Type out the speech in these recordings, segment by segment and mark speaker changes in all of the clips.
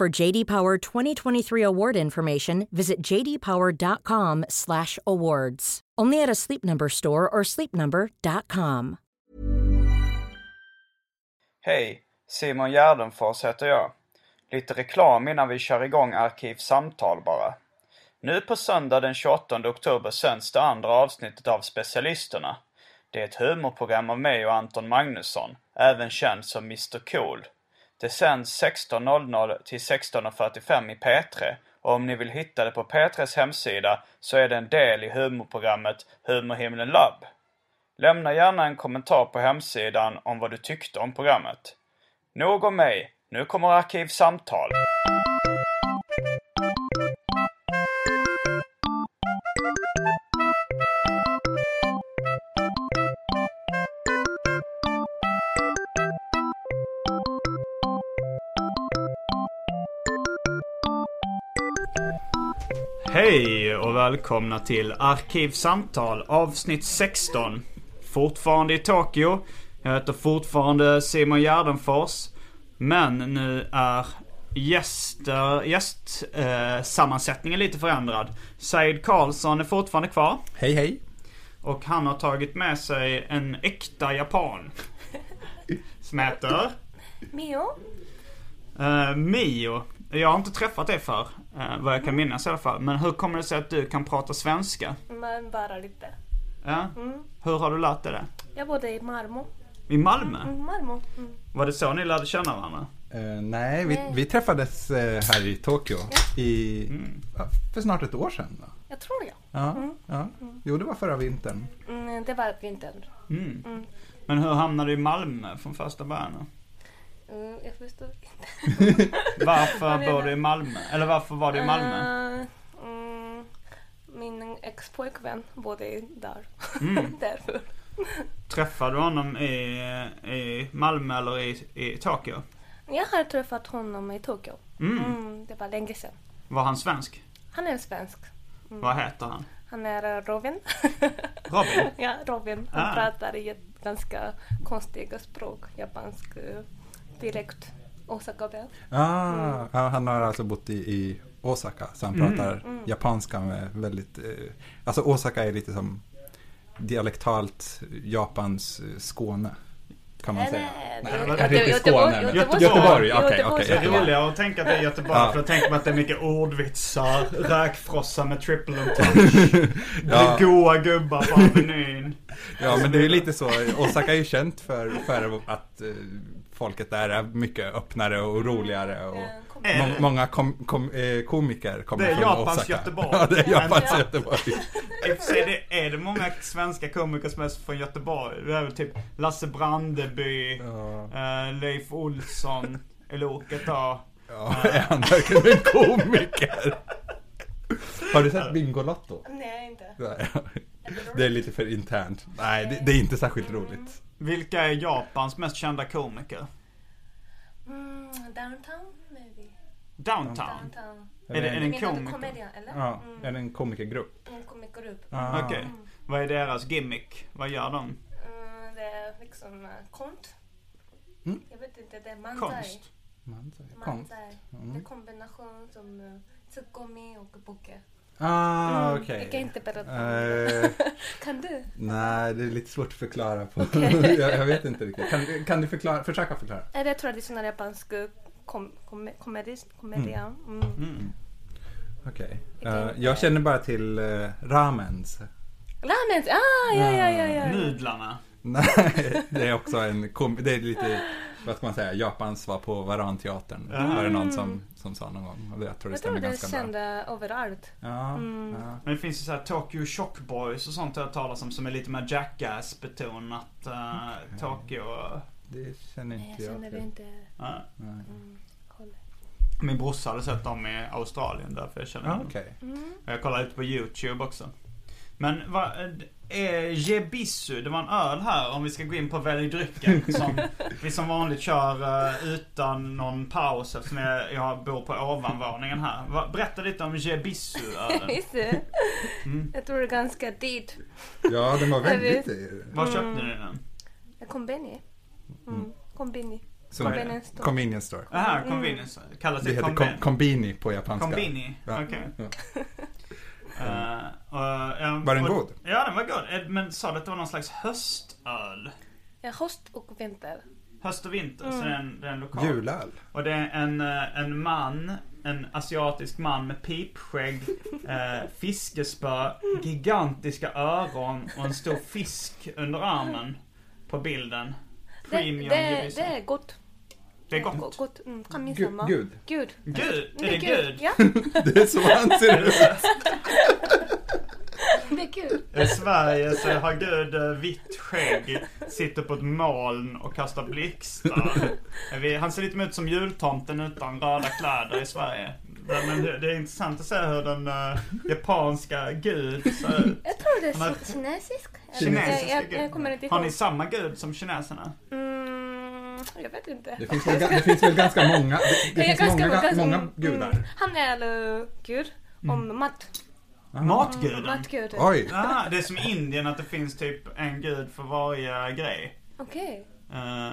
Speaker 1: For JD Power 2023 award information, visit jdpower.com/awards. Only at a Sleep Number store or sleepnumber.com.
Speaker 2: Hej, Simon Gärdenfors heter jag. Lite reklam innan vi kör igång Arkivsamtal bara. Nu på söndag den 28 oktober sänds det andra avsnittet av Specialisterna. Det är ett humorprogram av mig och Anton Magnusson, även känd som Mr Cool. Det sänds 16.00 till 16.45 i P3 och om ni vill hitta det på P3s hemsida så är det en del i humorprogrammet Humorhimlen Lab. Lämna gärna en kommentar på hemsidan om vad du tyckte om programmet. Nog om mig, nu kommer Arkivsamtal. Hej och välkomna till Arkivsamtal avsnitt 16. Fortfarande i Tokyo. Jag heter fortfarande Simon Gärdenfors. Men nu är gäster, gästsammansättningen eh, sammansättningen lite förändrad. Said Karlsson är fortfarande kvar.
Speaker 3: Hej hej!
Speaker 2: Och han har tagit med sig en äkta japan. Som heter
Speaker 4: Mio?
Speaker 2: eh, Mio. Jag har inte träffat dig för eh, vad jag kan minnas i alla fall. Men hur kommer det sig att du kan prata svenska?
Speaker 4: Men bara lite.
Speaker 2: Ja?
Speaker 4: Mm.
Speaker 2: Hur har du lärt dig det?
Speaker 4: Jag bodde i Marmo.
Speaker 2: I Malmö?
Speaker 4: Marmo? Mm.
Speaker 2: Var det så ni lärde känna varandra?
Speaker 3: Eh, nej, vi, vi träffades eh, här i Tokyo i,
Speaker 2: Mm.
Speaker 3: ja, för snart ett år sedan. Då.
Speaker 4: Jag tror det.
Speaker 3: Ja, ja. Jo, det var förra vintern.
Speaker 4: Mm, det var vintern.
Speaker 2: Mm. Men hur hamnade du i Malmö från första början? då?
Speaker 4: Mm, jag förstår inte. Vad
Speaker 2: Varför
Speaker 4: menar
Speaker 2: bor du i Malmö? Eller varför var du i Malmö?
Speaker 4: Eh, mm, min ex-pojkvän bodde där.
Speaker 2: Mm.
Speaker 4: Därför.
Speaker 2: Träffade du honom i, i Malmö eller i, i Tokyo?
Speaker 4: Jag har träffat honom i Tokyo. Mm, det var länge sedan.
Speaker 2: Var han svensk?
Speaker 4: Han är svensk. Mm.
Speaker 2: Vad heter han?
Speaker 4: Han är eh, Robin.
Speaker 2: Robin?
Speaker 4: ja, Robin. Han
Speaker 2: Ah.
Speaker 4: pratar i ett ganska konstiga språk. Japansk eh, direkt. Osaka-bär.
Speaker 3: Ah, ja, han har alltså bott i, i Osaka, så han pratar
Speaker 4: Mm.
Speaker 3: japanska med väldigt... Eh, alltså Osaka är lite som dialektalt Japans eh, Skåne, kan man säga.
Speaker 4: Nej,
Speaker 3: Nej,
Speaker 4: det-
Speaker 3: det var
Speaker 4: Göte-
Speaker 3: inte riktigt
Speaker 4: Göteborg-
Speaker 3: Skåne, men-
Speaker 2: Göteborg.
Speaker 3: Göteborg, okej, okej,
Speaker 2: Det är
Speaker 3: Göteborg.
Speaker 2: roligare att tänka att det är Göteborg
Speaker 3: Ja.
Speaker 2: för då tänker man att det är mycket ordvitsar, räkfrossa med triple and touch,
Speaker 3: Ja,
Speaker 2: goa gubbar på Avenyn.
Speaker 3: ja, men det är ju lite så. Osaka är ju känt för, för att eh, folket där är mycket öppnare och roligare. Och,
Speaker 2: Är
Speaker 3: Må-
Speaker 2: det?
Speaker 3: många kom, kom, eh, komiker kommer
Speaker 2: Det är
Speaker 3: från
Speaker 2: Japans
Speaker 3: Osaka.
Speaker 2: Göteborg.
Speaker 3: Ja, det är Japans
Speaker 2: Ja.
Speaker 3: Göteborg.
Speaker 2: I och för sig, det, är det många svenska komiker som är från Göteborg? Det är väl typ Lasse Brandeby, eh, Leif Olsson, Eloket då.
Speaker 3: Ja, är han verkligen en komiker? Har du sett Bingolotto?
Speaker 4: Nej, inte.
Speaker 3: Nej. Det är lite för internt. Nej, det, det är inte särskilt roligt.
Speaker 2: Vilka är Japans mest kända komiker?
Speaker 4: Mm, downtown, maybe.
Speaker 2: Downtown?
Speaker 4: Downtown.
Speaker 2: Är det, är det en
Speaker 4: Menar du
Speaker 2: komiker?
Speaker 4: komedian, eller? Mm,
Speaker 3: Ja, är det en komikergrupp?
Speaker 4: En komikgrupp.
Speaker 3: Ah.
Speaker 2: Okej. Vad är deras gimmick? Vad gör de?
Speaker 4: Mm, det är liksom uh, konst.
Speaker 3: Mm.
Speaker 4: Jag vet inte, det är manzai.
Speaker 2: Konst?
Speaker 3: Man säger Konst. Mm.
Speaker 4: manzai. Det är kombination som uh, tsukomi och buke.
Speaker 3: Ah,
Speaker 4: Jag
Speaker 3: okej.
Speaker 4: kan inte berätta.
Speaker 3: Eh,
Speaker 4: Kan du?
Speaker 3: nej, det är lite svårt att förklara. På. jag, jag vet inte riktigt. Kan, kan du förklara, försöka förklara?
Speaker 4: Är det traditionell japansk uh, kom, kom, komedi, komedia. Mm.
Speaker 3: Mm. Okej.
Speaker 4: Jag
Speaker 3: Eh,
Speaker 4: tänkte-
Speaker 3: jag känner bara till eh, ramens.
Speaker 4: Ramen! Ah, ja, ja, ja, ja.
Speaker 2: Nudlarna.
Speaker 3: Nej, det är också en kom- Det är lite, vad ska man säga, Japans svar på Varanteatern. Var det någon som, som sa någon gång. Och det- Jag tror det
Speaker 4: Ah. Jag tror
Speaker 3: stämmer
Speaker 4: Mm. den
Speaker 3: ganska bra.
Speaker 4: kända överallt.
Speaker 3: Ja, ja.
Speaker 2: Men det finns ju så här Tokyo Shock Boys och sånt har jag talas om som är lite mer Jackass-betonat. eh, Tokyo.
Speaker 3: Det känner
Speaker 4: Nej,
Speaker 3: inte
Speaker 4: jag
Speaker 3: jag
Speaker 4: känner
Speaker 3: till.
Speaker 4: inte Mm.
Speaker 2: eh.
Speaker 4: koll.
Speaker 2: Min brorsa hade sett dem i Australien därför jag känner
Speaker 3: Ja,
Speaker 2: honom.
Speaker 3: Ah, okej.
Speaker 2: Jag kollade lite på YouTube också. Men vad... Eh, Jebisu, det var en öl här om vi ska gå in på välj drycken. Som vi som vanligt kör eh, utan någon paus eftersom jag, jag bor på ovanvåningen här. Va, berätta lite om Jebisu-ölen.
Speaker 4: Just det. Jag tror det är ganska dyrt.
Speaker 3: Ja, den var väldigt... eh,
Speaker 2: Var köpte ni den?
Speaker 4: Kombini. Mm. Kombini.
Speaker 3: Som
Speaker 4: Convenience store.
Speaker 3: convenience store.
Speaker 2: Jaha, convenience. Kallas
Speaker 3: Det
Speaker 2: det
Speaker 3: heter
Speaker 2: conven-
Speaker 3: kom- kombini på japanska.
Speaker 2: Kombini?
Speaker 3: Ja.
Speaker 2: Okej.
Speaker 3: Ja.
Speaker 2: Eh, och, ja,
Speaker 3: Var den
Speaker 2: och-
Speaker 3: god?
Speaker 2: Ja, den var god. Eh, Men sa du att det var någon slags höstöl?
Speaker 4: Ja, höst och vinter.
Speaker 2: Höst och vinter,
Speaker 4: Mm.
Speaker 2: så det är en, det är en lokal.
Speaker 3: Julöl.
Speaker 2: Och det är en, eh, en man, en asiatisk man med pipskägg, eh, fiskespö, gigantiska öron och en stor fisk under armen på bilden.
Speaker 4: Det,
Speaker 2: Premium
Speaker 4: det,
Speaker 2: Jebisu.
Speaker 4: det är gott.
Speaker 2: det är
Speaker 4: Go-
Speaker 2: gott.
Speaker 4: gott. Mm, kaminsama.
Speaker 3: Gud, gud.
Speaker 4: Gud.
Speaker 2: Gud, är
Speaker 4: Det
Speaker 2: det gud?
Speaker 4: Ja,
Speaker 3: Det är så han ser ut.
Speaker 4: det är gud.
Speaker 2: I Sverige så har Gud eh, vitt skägg, sitter på ett moln och kastar blixtar. Eh, vi- Han ser lite mer ut som jultomten utan röda kläder i Sverige. Men det det är intressant att se hur den eh, japanska Gud ser ut.
Speaker 4: Jag tror det
Speaker 2: Han har-
Speaker 4: är kinesisk.
Speaker 2: Kinesiska
Speaker 4: Jag, jag,
Speaker 2: gud.
Speaker 4: jag kommer inte
Speaker 2: Har ni
Speaker 4: ihåg.
Speaker 2: samma gud som kineserna?
Speaker 4: Mm, jag vet inte.
Speaker 3: Det finns väl, ga- det finns väl ganska många, det, det finns
Speaker 4: Jag ganska-
Speaker 3: många, ga-
Speaker 4: ganska-
Speaker 3: många
Speaker 4: mm,
Speaker 3: gudar. Mm.
Speaker 4: mm. Han är uh, gud om mat.
Speaker 2: Matguden?
Speaker 4: Matguden.
Speaker 3: Oj,
Speaker 2: Ah, det är som i Indien att det finns typ en gud för varje grej.
Speaker 4: Okej.
Speaker 2: Eh,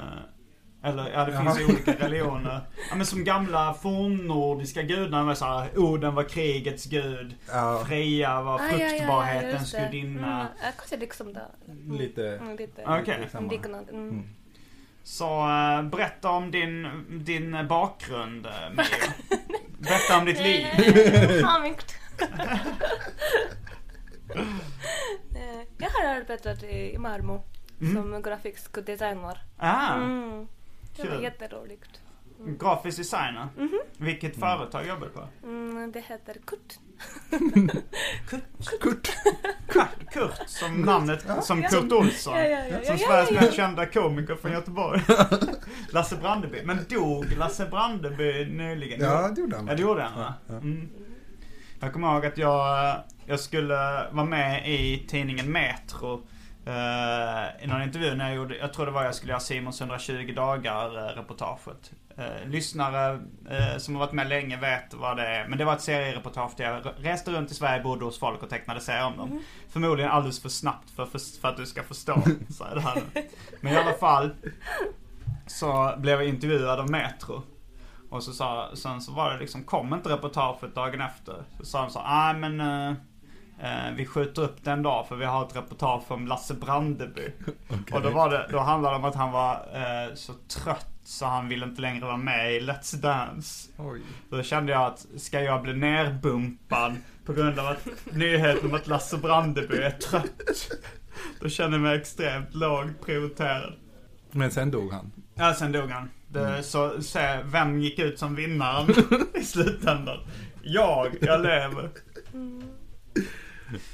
Speaker 2: eller ja, det
Speaker 3: Jaha.
Speaker 2: finns ju olika religioner. Ja, men som gamla fornnordiska gudarna var såhär, Oden var krigets gud.
Speaker 3: ja,
Speaker 2: Freja var
Speaker 4: Ah, ja, ja, ja,
Speaker 2: fruktbarhetens
Speaker 4: just det.
Speaker 2: gudinna.
Speaker 4: Mm, eh, kanske liksom det. Mm,
Speaker 3: lite,
Speaker 4: mm, lite.
Speaker 2: Okej.
Speaker 3: lite
Speaker 4: Mm,
Speaker 3: samma.
Speaker 4: liknande. Mm.
Speaker 2: Så eh, berätta om din, din bakgrund eh, Mio. Berätta om ditt liv.
Speaker 4: Mm. Nej, skämt. Nej, Jag har arbetat i i Malmö
Speaker 2: Mm.
Speaker 4: som grafisk designer.
Speaker 2: Ah,
Speaker 4: Mm. Det var
Speaker 2: Kul.
Speaker 4: jätteroligt.
Speaker 2: Grafisk designer.
Speaker 4: Mm-hmm.
Speaker 2: Vilket företag jobbar du på?
Speaker 4: Mm, det heter Kurt.
Speaker 3: Kurt.
Speaker 2: Kurt, Kurt som namnet, som Kurt Olsson.
Speaker 4: Ja, ja, ja,
Speaker 2: Som
Speaker 4: ja,
Speaker 2: Sveriges
Speaker 4: ja,
Speaker 2: mest kända komiker från Göteborg. Lasse Brandeby. Men dog Lasse Brandeby nyligen?
Speaker 3: Ja, det gjorde han.
Speaker 2: Ja, det gjorde han va? Mm. Jag kommer ihåg att jag, jag skulle vara med i tidningen Metro. eh, I någon intervju när jag gjorde, jag tror det var jag skulle göra Simons 120 dagar eh, reportaget. Eh, lyssnare eh, som har varit med länge vet vad det är. Men det var ett seriereportage där jag reste runt i Sverige, bodde hos folk och tecknade serier om dem. Förmodligen alldeles för snabbt för, för, för att du ska förstå. Så är det här nu. Men i alla fall så blev jag intervjuad av Metro. Och så sa, sen så var det liksom, kom inte reportaget dagen efter. Så sa de så nej men eh, eh, vi skjuter upp den dag för vi har ett reportage om Lasse Brandeby. Och då, var det, då handlade det om att han var eh, så trött så han ville inte längre vara med i Let's Dance.
Speaker 3: Oj.
Speaker 2: Då kände jag att ska jag bli nerbumpad på grund av att nyheten om att Lasse Brandeby är trött. Då känner jag mig extremt lågt prioriterad.
Speaker 3: Men sen dog han.
Speaker 2: Ja, sen dog han. Det, Så se, vem gick ut som vinnaren i slutändan? Jag, jag lever.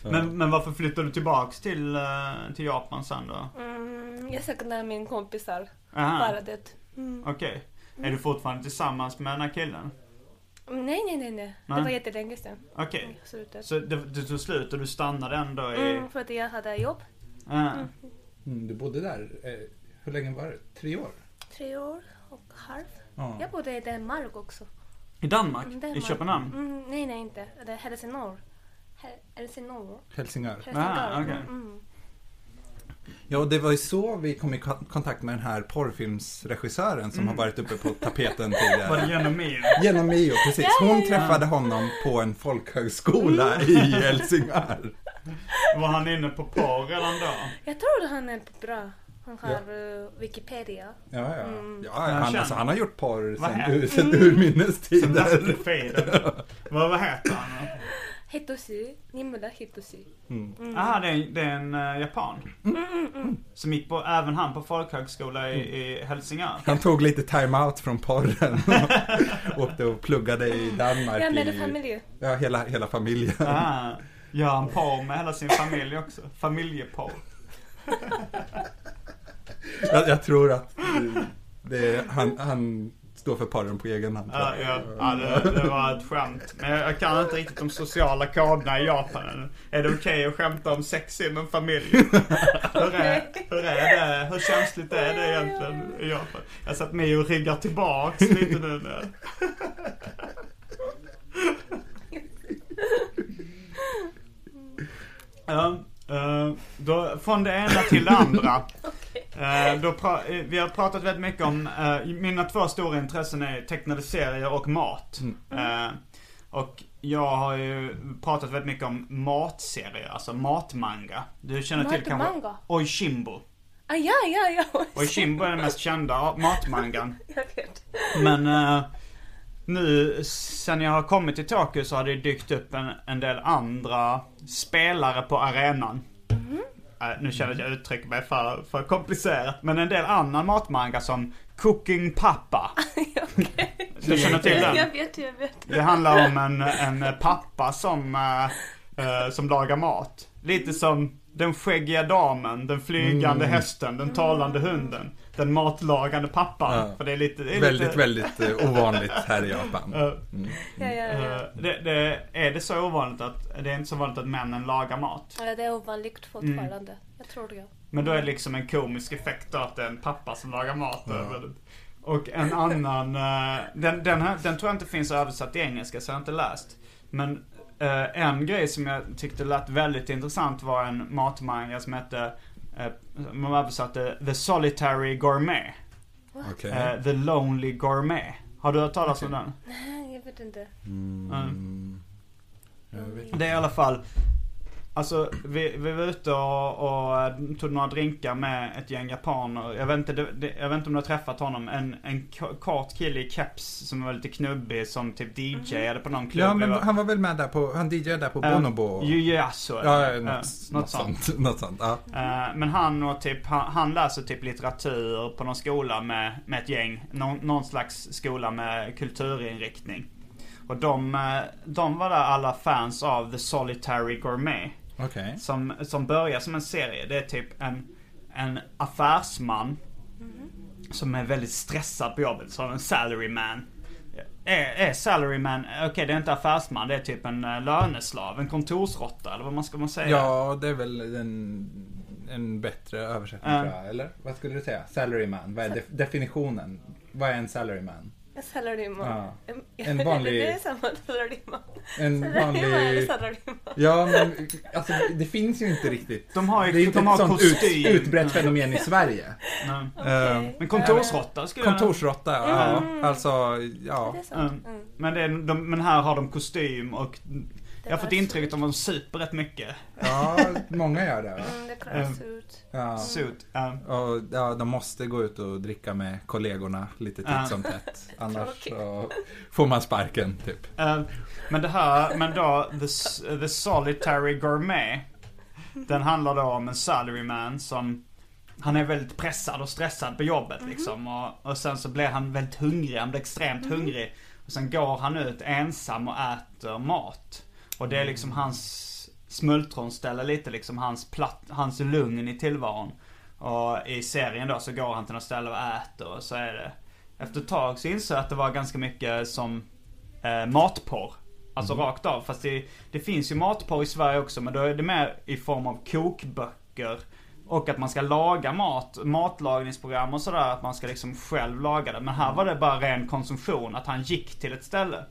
Speaker 2: Men, men varför flyttade du tillbaks till, eh, till Japan sen då?
Speaker 4: Mm, jag saknar min kompisar.
Speaker 2: Aha,
Speaker 4: Bara det. Mm.
Speaker 2: okej. Är du fortfarande tillsammans med den här killen?
Speaker 4: Mm, Nej, nej, nej, nej. Det
Speaker 2: Nej.
Speaker 4: var jättelänge sedan.
Speaker 2: Okej.
Speaker 4: Slutet.
Speaker 2: Så eh, det, det tog slut och du stannade ändå i...
Speaker 4: Mm, för att jag hade jobb.
Speaker 2: Ah.
Speaker 3: Mm, du bodde där, eh, hur länge var det? Tre år?
Speaker 4: Tre år och halv.
Speaker 3: Ja.
Speaker 4: Jag bodde i Danmark också.
Speaker 2: I Danmark?
Speaker 4: Mm, Danmark.
Speaker 2: I Köpenhamn?
Speaker 4: Mm, nej, nej, inte. Det är Helsingör. Hel- Helsingör.
Speaker 3: Helsingör.
Speaker 4: Helsingör.
Speaker 2: okej.
Speaker 4: Mm, mm.
Speaker 3: Ja, och det var ju så vi kom i kon- kontakt med den här porrfilmsregissören som har varit uppe på tapeten
Speaker 2: Var det
Speaker 3: tidigare.
Speaker 2: genom mig?
Speaker 3: Genom Mio, precis. Hon träffade honom på en folkhögskola i Helsingör.
Speaker 2: Var han inne på porr redan då?
Speaker 4: Jag tror han är bra. Han har eh, Wikipedia.
Speaker 3: Ja, ja.
Speaker 4: Mm.
Speaker 3: ja
Speaker 2: Men
Speaker 3: han,
Speaker 2: känn-
Speaker 3: alltså, han har gjort porr
Speaker 2: Vad
Speaker 3: sen,
Speaker 2: är-
Speaker 3: ur, sen urminnes
Speaker 2: Som Dusty
Speaker 3: tider.
Speaker 2: Faden. Vad, vad heter han?
Speaker 4: Hitoshi. Nimura Hitoshi.
Speaker 2: Aha, det är, det är en eh, japan. Som gick på, även han på folkhögskola i, i Helsingör.
Speaker 3: Han tog lite time-out från porren och åkte och pluggade i Danmark.
Speaker 4: Ja, med
Speaker 3: i-
Speaker 4: familj.
Speaker 3: Ja, hela, hela familjen.
Speaker 2: Ah, gör han porr med hela sin familj också? Familjeporr.
Speaker 3: Jag, jag tror att eh, det är, han, han står för porren på egen hand. tror
Speaker 2: Ja,
Speaker 3: jag.
Speaker 2: ja, ja det, det var ett skämt. Men jag, jag kan inte riktigt de sociala koderna i Japan än. Är det okej att skämta om sex inom familj? hur, är, hur är det? Hur känsligt är det egentligen i Japan? Jag satt mig och ryggar tillbaks lite nu. när- Ja, eh, då, från det ena till det andra. Eh, då pra- eh, vi har pratat väldigt mycket om, eh, mina två stora intressen är tecknade serier och mat. Eh, och jag har ju pratat väldigt mycket om matserier, alltså matmanga. Du känner till kanske
Speaker 4: Matmanga?
Speaker 2: Oishimbo.
Speaker 4: Ah, ja, ja, ja.
Speaker 2: Oishimbo är den mest kända matmangan.
Speaker 4: Jag vet.
Speaker 2: Men eh, nu sen jag har kommit till Tokyo så har det dykt upp en, en del andra spelare på arenan. Eh, nu känner jag att jag uttrycker mig för, för komplicerat. Men en del annan matmanga som Cooking Pappa. Du känner till den?
Speaker 4: Jag vet, jag vet.
Speaker 2: Det handlar om en, en pappa som, eh, eh, som lagar mat. Lite som den skäggiga damen, den flygande
Speaker 3: Mm.
Speaker 2: hästen, den talande hunden. Den matlagande pappan.
Speaker 3: Ja.
Speaker 2: För det är lite... Det är
Speaker 3: Väldigt,
Speaker 2: lite,
Speaker 3: väldigt eh, ovanligt här i Japan.
Speaker 2: eh,
Speaker 4: Ja, ja, ja.
Speaker 2: Eh, det, det, är det så ovanligt att, det är inte så vanligt att männen lagar mat.
Speaker 4: Ja, det är ovanligt fortfarande.
Speaker 3: Mm.
Speaker 4: Jag tror det.
Speaker 2: Men då är det liksom en komisk effekt då att det är en pappa som lagar mat. Alltså, Och en annan, eh, den, den, här, den tror jag inte finns översatt till engelska så jag har inte läst. Men eh, en grej som jag tyckte lät väldigt intressant var en matmanga som hette, eh, man översatte The Solitary Gourmet.
Speaker 3: Okej.
Speaker 2: eh, The Lonely Gourmet. Har du hört talas om den?
Speaker 4: Nej, Ah, jag vet inte.
Speaker 3: Mm. Jag vet-
Speaker 2: Det är i alla fall Alltså vi, vi var ute och, och eh, tog några drinkar med ett gäng japaner. Jag vet inte, det, det, jag vet inte om du har träffat honom. En, en k- kort kille i keps som var lite knubbig som typ
Speaker 3: Mm.
Speaker 2: DJade på någon klubb.
Speaker 3: Ja, men han var väl med där på, han DJade där på Bonobo.
Speaker 2: Yuyasu.
Speaker 3: Ja, något, något, sånt. något sånt. Ja.
Speaker 2: Eh, Men han och typ, han, han läser typ litteratur på någon skola med, med ett gäng. Någon, någon slags skola med kulturinriktning. Och de, eh, de var där alla fans av The Solitary Gourmet.
Speaker 3: Okej.
Speaker 2: Som, som börjar som en serie. Det är typ en, en affärsman som är väldigt stressad på jobbet. Som en salaryman. Är, är salaryman, okej det är inte affärsman, det är typ en eh, löneslav, en kontorsrotta eller vad man ska man säga?
Speaker 3: Ja, det är väl en, en bättre översättning
Speaker 2: Ja.
Speaker 3: tror jag. Eller vad skulle du säga? Salaryman. Vad är def- definitionen? Vad är en salaryman?
Speaker 4: En salaryman.
Speaker 3: Ja.
Speaker 4: En,
Speaker 3: En vanlig-
Speaker 4: Det är samma salaryman.
Speaker 3: En
Speaker 4: Salaryman eller
Speaker 3: vanlig...
Speaker 4: salaryman.
Speaker 3: Ja, men alltså, det finns ju inte riktigt.
Speaker 2: De har ju-
Speaker 3: det är inte
Speaker 2: de har
Speaker 3: ett sånt ut,
Speaker 2: kostym.
Speaker 3: utbrett fenomen i Sverige.
Speaker 2: Mm.
Speaker 3: Ehm,
Speaker 2: Men kontorsrotta skulle jag
Speaker 3: Kontorsråtta, ja. Alltså, ja.
Speaker 4: Det är
Speaker 2: Mm.
Speaker 4: sant. Mm.
Speaker 2: Men, det är, de, men här har de kostym och jag har fått
Speaker 4: var
Speaker 2: intrycket att de super rätt mycket.
Speaker 3: Ja, många gör det. va?
Speaker 4: Mm, det klaras ut.
Speaker 3: Ja.
Speaker 2: Suit. Ja.
Speaker 3: Och, ja, de måste gå ut och dricka med kollegorna lite
Speaker 2: Ja.
Speaker 3: titt som tätt. Annars så får man sparken, typ.
Speaker 2: Eh, men det här, men då The, S- eh, the Solitary Gourmet. Den handlar då om en salaryman som han är väldigt pressad och stressad på jobbet liksom. Och, och sen så blir han väldigt hungrig, han blir extremt hungrig. Och sen går han ut ensam och äter mat. Och det är liksom hans smultronställe lite liksom, hans, platt, hans lugn i tillvaron. Och i serien då så går han till något ställe och äter och så är det. Efter ett tag så inser jag att det var ganska mycket som eh, matporr. Alltså rakt av. Fast det, det finns ju matporr i Sverige också men då är det mer i form av kokböcker. Och att man ska laga mat, matlagningsprogram och sådär. Att man ska liksom själv laga det. Men här var det bara ren konsumtion. Att han gick till ett ställe.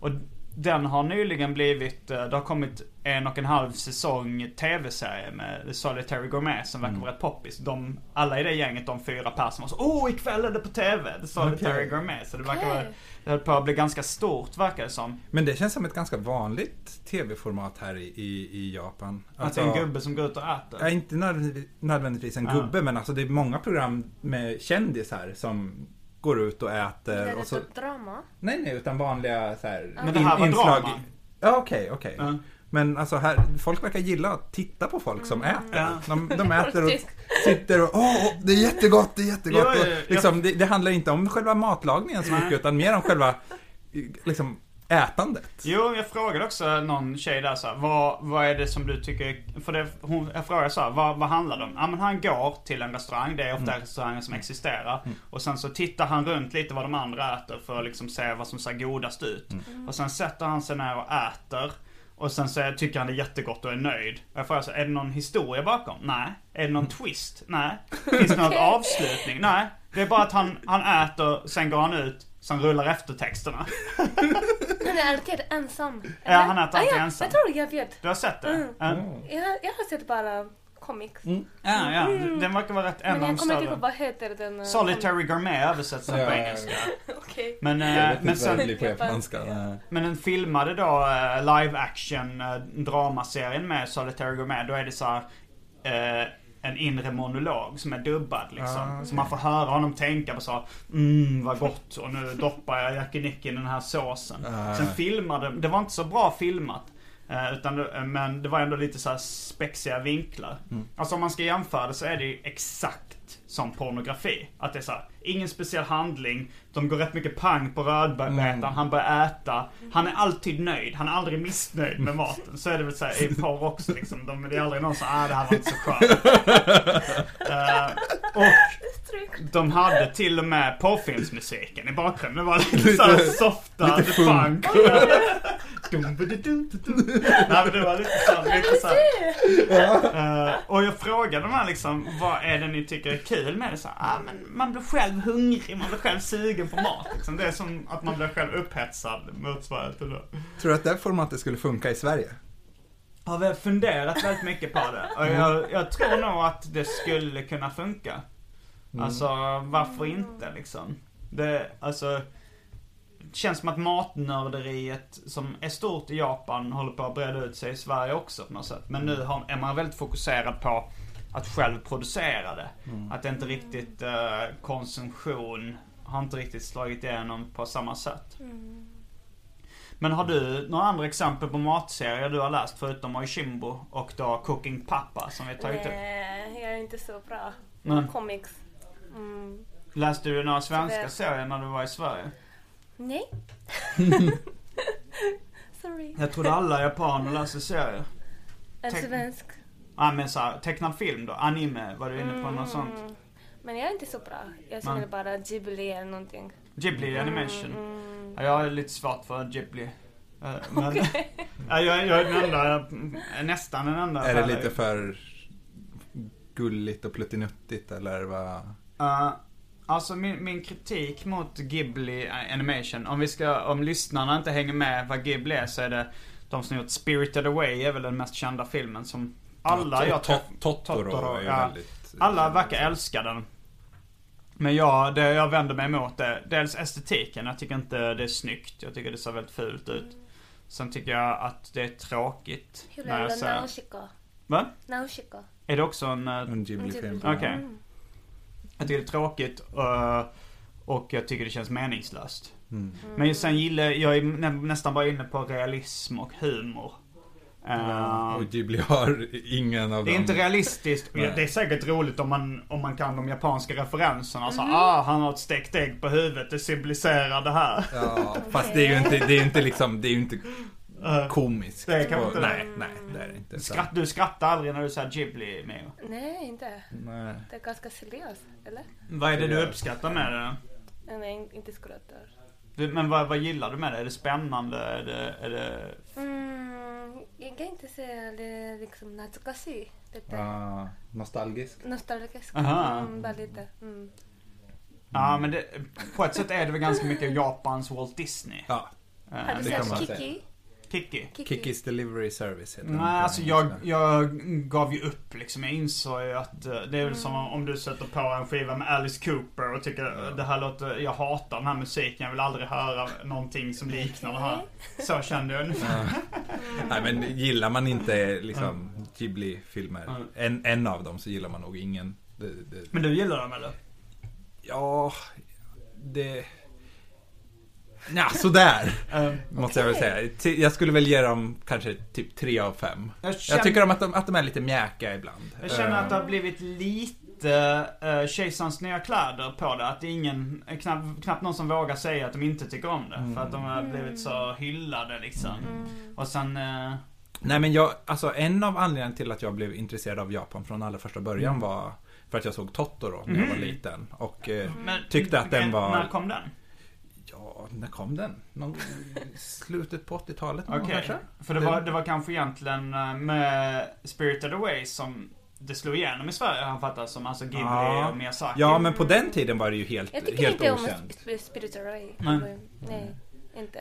Speaker 2: Och Den har nyligen blivit, eh, det har kommit en och en halv säsong tv-serie med The Solitary Gourmet som verkar vara rätt poppis. De, alla i det gänget, de fyra personerna, så åh ikväll är det på tv! The Solitary
Speaker 3: Okej.
Speaker 2: Gourmet. Så det verkar
Speaker 4: Okej.
Speaker 2: vara, det höll på att bli ganska stort verkar det som.
Speaker 3: Men det känns som ett ganska vanligt tv-format här i, i, i Japan. Alltså,
Speaker 2: Att det är en gubbe som går ut och äter.
Speaker 3: Ja, inte nödvändigtvis- nödvändigtvis en
Speaker 2: Ah.
Speaker 3: gubbe, men alltså det är många program med kändisar som går ut och
Speaker 4: Är
Speaker 3: äter.
Speaker 4: det
Speaker 3: Eh, Och så,
Speaker 4: typ drama?
Speaker 3: nej, nej, utan vanliga så här,
Speaker 2: Men det här var drama.
Speaker 3: Ja, okej, okej.
Speaker 2: Ja.
Speaker 3: Men alltså här, folk verkar gilla att titta på folk som äter.
Speaker 2: Ja.
Speaker 3: De, de äter och sitter och åh, åh, det är jättegott, det är jättegott.
Speaker 2: Ja, ja, ja.
Speaker 3: och, liksom, det, det handlar inte om själva matlagningen så
Speaker 2: Nej.
Speaker 3: mycket, utan mer om själva liksom, ätandet.
Speaker 2: Jo, jag frågade också någon tjej där så här, vad, vad är det som du tycker, för det, hon, jag frågade så här, vad, vad handlar det om? Ja men han går till en restaurang, det är ofta restauranger som existerar. Och sen så tittar han runt lite vad de andra äter för att liksom se vad som ser godast ut. Och sen sätter han sig ner och äter. Och sen så är- tycker han det är jättegott och är nöjd. Och jag frågar så här, är det någon historia bakom? Nej. Är det någon twist? Nej. Finns det någon avslutning? Nej. Det är bara att han, han äter, sen går han ut, sen rullar eftertexterna.
Speaker 4: Han är alltid ensam. Ah,
Speaker 2: Ja, han äter alltid
Speaker 4: ja,
Speaker 2: ensam.
Speaker 4: Jag tror jag vet.
Speaker 2: Du har sett det?
Speaker 4: Mm.
Speaker 2: Ja.
Speaker 4: Jag, jag har sett bara comics.
Speaker 2: Ja, ja. Den verkar vara rätt Mm, en av
Speaker 4: Men
Speaker 2: de
Speaker 4: jag kommer inte ihåg
Speaker 2: större.
Speaker 4: vad heter den. eh,
Speaker 2: Solitary Gourmet översätts sen
Speaker 3: Ja,
Speaker 2: på
Speaker 3: ja, ja.
Speaker 2: engelska.
Speaker 4: kom- Okej.
Speaker 2: Men,
Speaker 3: Jag
Speaker 2: eh,
Speaker 3: vet
Speaker 2: men,
Speaker 3: inte vad det
Speaker 2: sen,
Speaker 3: blir på japanska. Nej.
Speaker 2: men den filmade då eh, live action eh, dramaserien med Solitary Gourmet. Då är det så här, eh, en inre monolog som är dubbad liksom.
Speaker 3: Ah, okej.
Speaker 2: Så man får höra honom tänka på så här, mm vad gott och nu doppar jag yakiniku i den här såsen.
Speaker 3: Ah.
Speaker 2: Sen filmade, det var inte så bra filmat. eh, Utan, det- men det var ändå lite så här spexiga vinklar.
Speaker 3: Mm.
Speaker 2: Alltså om man ska jämföra det så är det ju exakt som pornografi. Att det är så här, ingen speciell handling, de går rätt mycket pang på
Speaker 3: Mm.
Speaker 2: rödbetan, han börjar äta. Han är alltid nöjd, han är aldrig missnöjd med maten. Så är det väl så här, i porr också liksom. De, det är aldrig någon som ah det här var inte så skönt. Eh, och
Speaker 4: Stryk.
Speaker 2: de hade till och med porrfilmsmusiken i bakgrunden. Det var lite såhär softa,
Speaker 3: lite
Speaker 2: lite
Speaker 3: funk.
Speaker 2: funk. Dum, ba, du, dum, du, dum. Nej men det var lite såhär, lite såhär. Eh, och jag frågade dem här liksom, vad är det ni tycker är kul med det? Så här, ah, men man blir själv hungrig, man blir själv sugen på mat. Liksom. Det är som att man blir själv upphetsad motsvarande till det.
Speaker 3: Tror du att det här formatet skulle funka i Sverige?
Speaker 2: Ja, vi har funderat väldigt mycket på det. Och jag, jag tror nog att det skulle kunna funka. Alltså, varför inte liksom? Det, alltså, det känns som att matnörderiet som är stort i Japan håller på att breda ut sig i Sverige också på något sätt. Men nu har, är man väldigt fokuserad på att själv producera det. Att det inte riktigt, eh, konsumtion har inte riktigt slagit igenom på samma sätt. Men har du några andra exempel på matserier du har läst förutom Oishimbo och då Cooking Papa som vi tagit
Speaker 4: Eh,
Speaker 2: upp?
Speaker 4: Nej, jag är inte så bra.
Speaker 2: Men
Speaker 4: Comics. Mm.
Speaker 2: läste du några svenska
Speaker 4: Det-
Speaker 2: serier när du var i Sverige?
Speaker 4: Nej. Sorry.
Speaker 2: Jag trodde alla japaner läste serier.
Speaker 4: En
Speaker 2: Tänk-
Speaker 4: svensk.
Speaker 2: Ja men såhär, tecknad film då? Anime? Var du inne på något sånt?
Speaker 4: Mm. Men jag är inte så bra. Jag
Speaker 2: Men-
Speaker 4: känner bara Ghibli eller någonting.
Speaker 2: Ghibli animation?
Speaker 4: Mm.
Speaker 2: Ja, jag är lite svårt för Ghibli. Eh, Men, ja, jag, jag är den enda, nästan den enda.
Speaker 3: Är det
Speaker 2: färdig.
Speaker 3: lite för gulligt och pluttinuttigt eller vad?
Speaker 2: Eh, alltså min, min kritik mot Ghibli Animation, om vi ska, om lyssnarna inte hänger med vad Ghibli är så är det de som gjort Spirited Away är väl den mest kända filmen som alla jag
Speaker 3: Tot-
Speaker 2: träff-
Speaker 3: Totoro, är ju
Speaker 2: ja.
Speaker 3: väldigt...
Speaker 2: Alla verkar älska den. Men jag, det jag vänder mig emot är dels estetiken. Jag tycker inte det är snyggt. Jag tycker det ser väldigt fult ut. Sen tycker jag att det är tråkigt.
Speaker 4: Hur
Speaker 2: när
Speaker 4: är
Speaker 2: jag
Speaker 4: det
Speaker 2: ser...
Speaker 4: Nausicaa?
Speaker 2: Va?
Speaker 4: Nausicaa.
Speaker 2: Är det också en... eh,
Speaker 3: En Ghibli-film.
Speaker 4: Ghibli.
Speaker 2: Okej. Jag tycker det är tråkigt eh, och jag tycker det känns meningslöst.
Speaker 3: Mm.
Speaker 2: Men sen gillar jag, är nä, nästan bara inne på realism och humor. Eh,
Speaker 3: Och Ghibli har ingen av
Speaker 2: det är
Speaker 3: dem.
Speaker 2: inte realistiskt.
Speaker 3: Nej.
Speaker 2: Det är säkert roligt om man, om man kan de japanska referenserna. Så, ah, han har ett stekt ägg på huvudet, det symboliserar det här.
Speaker 3: Ja, fast det är ju inte, det är ju inte liksom, det är ju inte
Speaker 2: Eh,
Speaker 3: komiskt.
Speaker 2: Det kan man inte-
Speaker 3: nej, nej, det är det inte. Så-
Speaker 2: skratt, du skrattar aldrig när du säger Ghibli, Mio.
Speaker 4: Nej, inte.
Speaker 3: Nej.
Speaker 4: Det är ganska seriöst, eller?
Speaker 2: Vad är det du uppskattar med det?
Speaker 4: Nej, inte skrattar.
Speaker 2: Du, men vad, vad gillar du med det? Är det spännande? Är det, är det...
Speaker 4: Mm, jag kan inte säga det är liksom natsukashi. Lite
Speaker 3: Ah, nostalgisk.
Speaker 4: nostalgisk.
Speaker 2: Aha.
Speaker 4: Mm, bara lite. Mm.
Speaker 2: Ja,
Speaker 3: Mm.
Speaker 2: men det, på ett sätt är det väl ganska mycket Japans Walt Disney. Eh, liksom.
Speaker 3: Ja,
Speaker 4: Har du
Speaker 3: det kan man
Speaker 4: sett
Speaker 3: säga.
Speaker 4: Kiki?
Speaker 2: Kikki?
Speaker 3: Kickis Delivery Service heter den på
Speaker 2: Nej, alltså jag,
Speaker 3: engelska.
Speaker 2: jag gav ju upp liksom. Jag insåg ju att eh, det är väl som om du sätter på en skiva med Alice Cooper och tycker det här låter, jag hatar den här musiken, jag vill aldrig höra någonting som liknar det här. Så kände jag ungefär.
Speaker 3: Nej men gillar man inte liksom Ghibli-filmer,
Speaker 2: Mm.
Speaker 3: en, en av dem så gillar man nog ingen. Det, det,
Speaker 2: Men du gillar dem eller?
Speaker 3: ja, det... Nja, sådär.
Speaker 2: Eh,
Speaker 3: Måste jag väl säga. Ti- Jag skulle väl ge dem kanske typ tre av fem.
Speaker 2: Jag
Speaker 3: Jag,
Speaker 2: känner-
Speaker 3: tycker om att de, att de är lite mjäkiga ibland.
Speaker 2: Jag känner
Speaker 3: Eh,
Speaker 2: att det har blivit lite eh, kejsarens nya kläder på det. Att det är ingen, eh, knappt, knappt någon som vågar säga att de inte tycker om det. För att de har blivit så hyllade liksom. Och sen, eh,
Speaker 3: Nej men jag, alltså en av anledningarna till att jag blev intresserad av Japan från allra första
Speaker 2: Mm.
Speaker 3: början var för att jag såg Totoro när jag var liten. Och eh,
Speaker 2: men,
Speaker 3: tyckte att den
Speaker 2: men
Speaker 3: var...
Speaker 2: När kom den?
Speaker 3: Ja, när kom den? Någon, slutet på 80-talet någon gång
Speaker 2: Okej.
Speaker 3: kanske?
Speaker 2: För det var, det var kanske egentligen eh, med Spirited Away som det slog igenom i Sverige han fattar som. Alltså Ghibli
Speaker 3: Ja.
Speaker 2: och Miyazaki.
Speaker 3: Ja, men på den tiden var det ju helt,
Speaker 4: Jag tycker
Speaker 3: helt
Speaker 4: inte om
Speaker 3: okänt.
Speaker 4: sp- sp- Spiritual Ray.
Speaker 2: Nej.
Speaker 4: Nej, inte.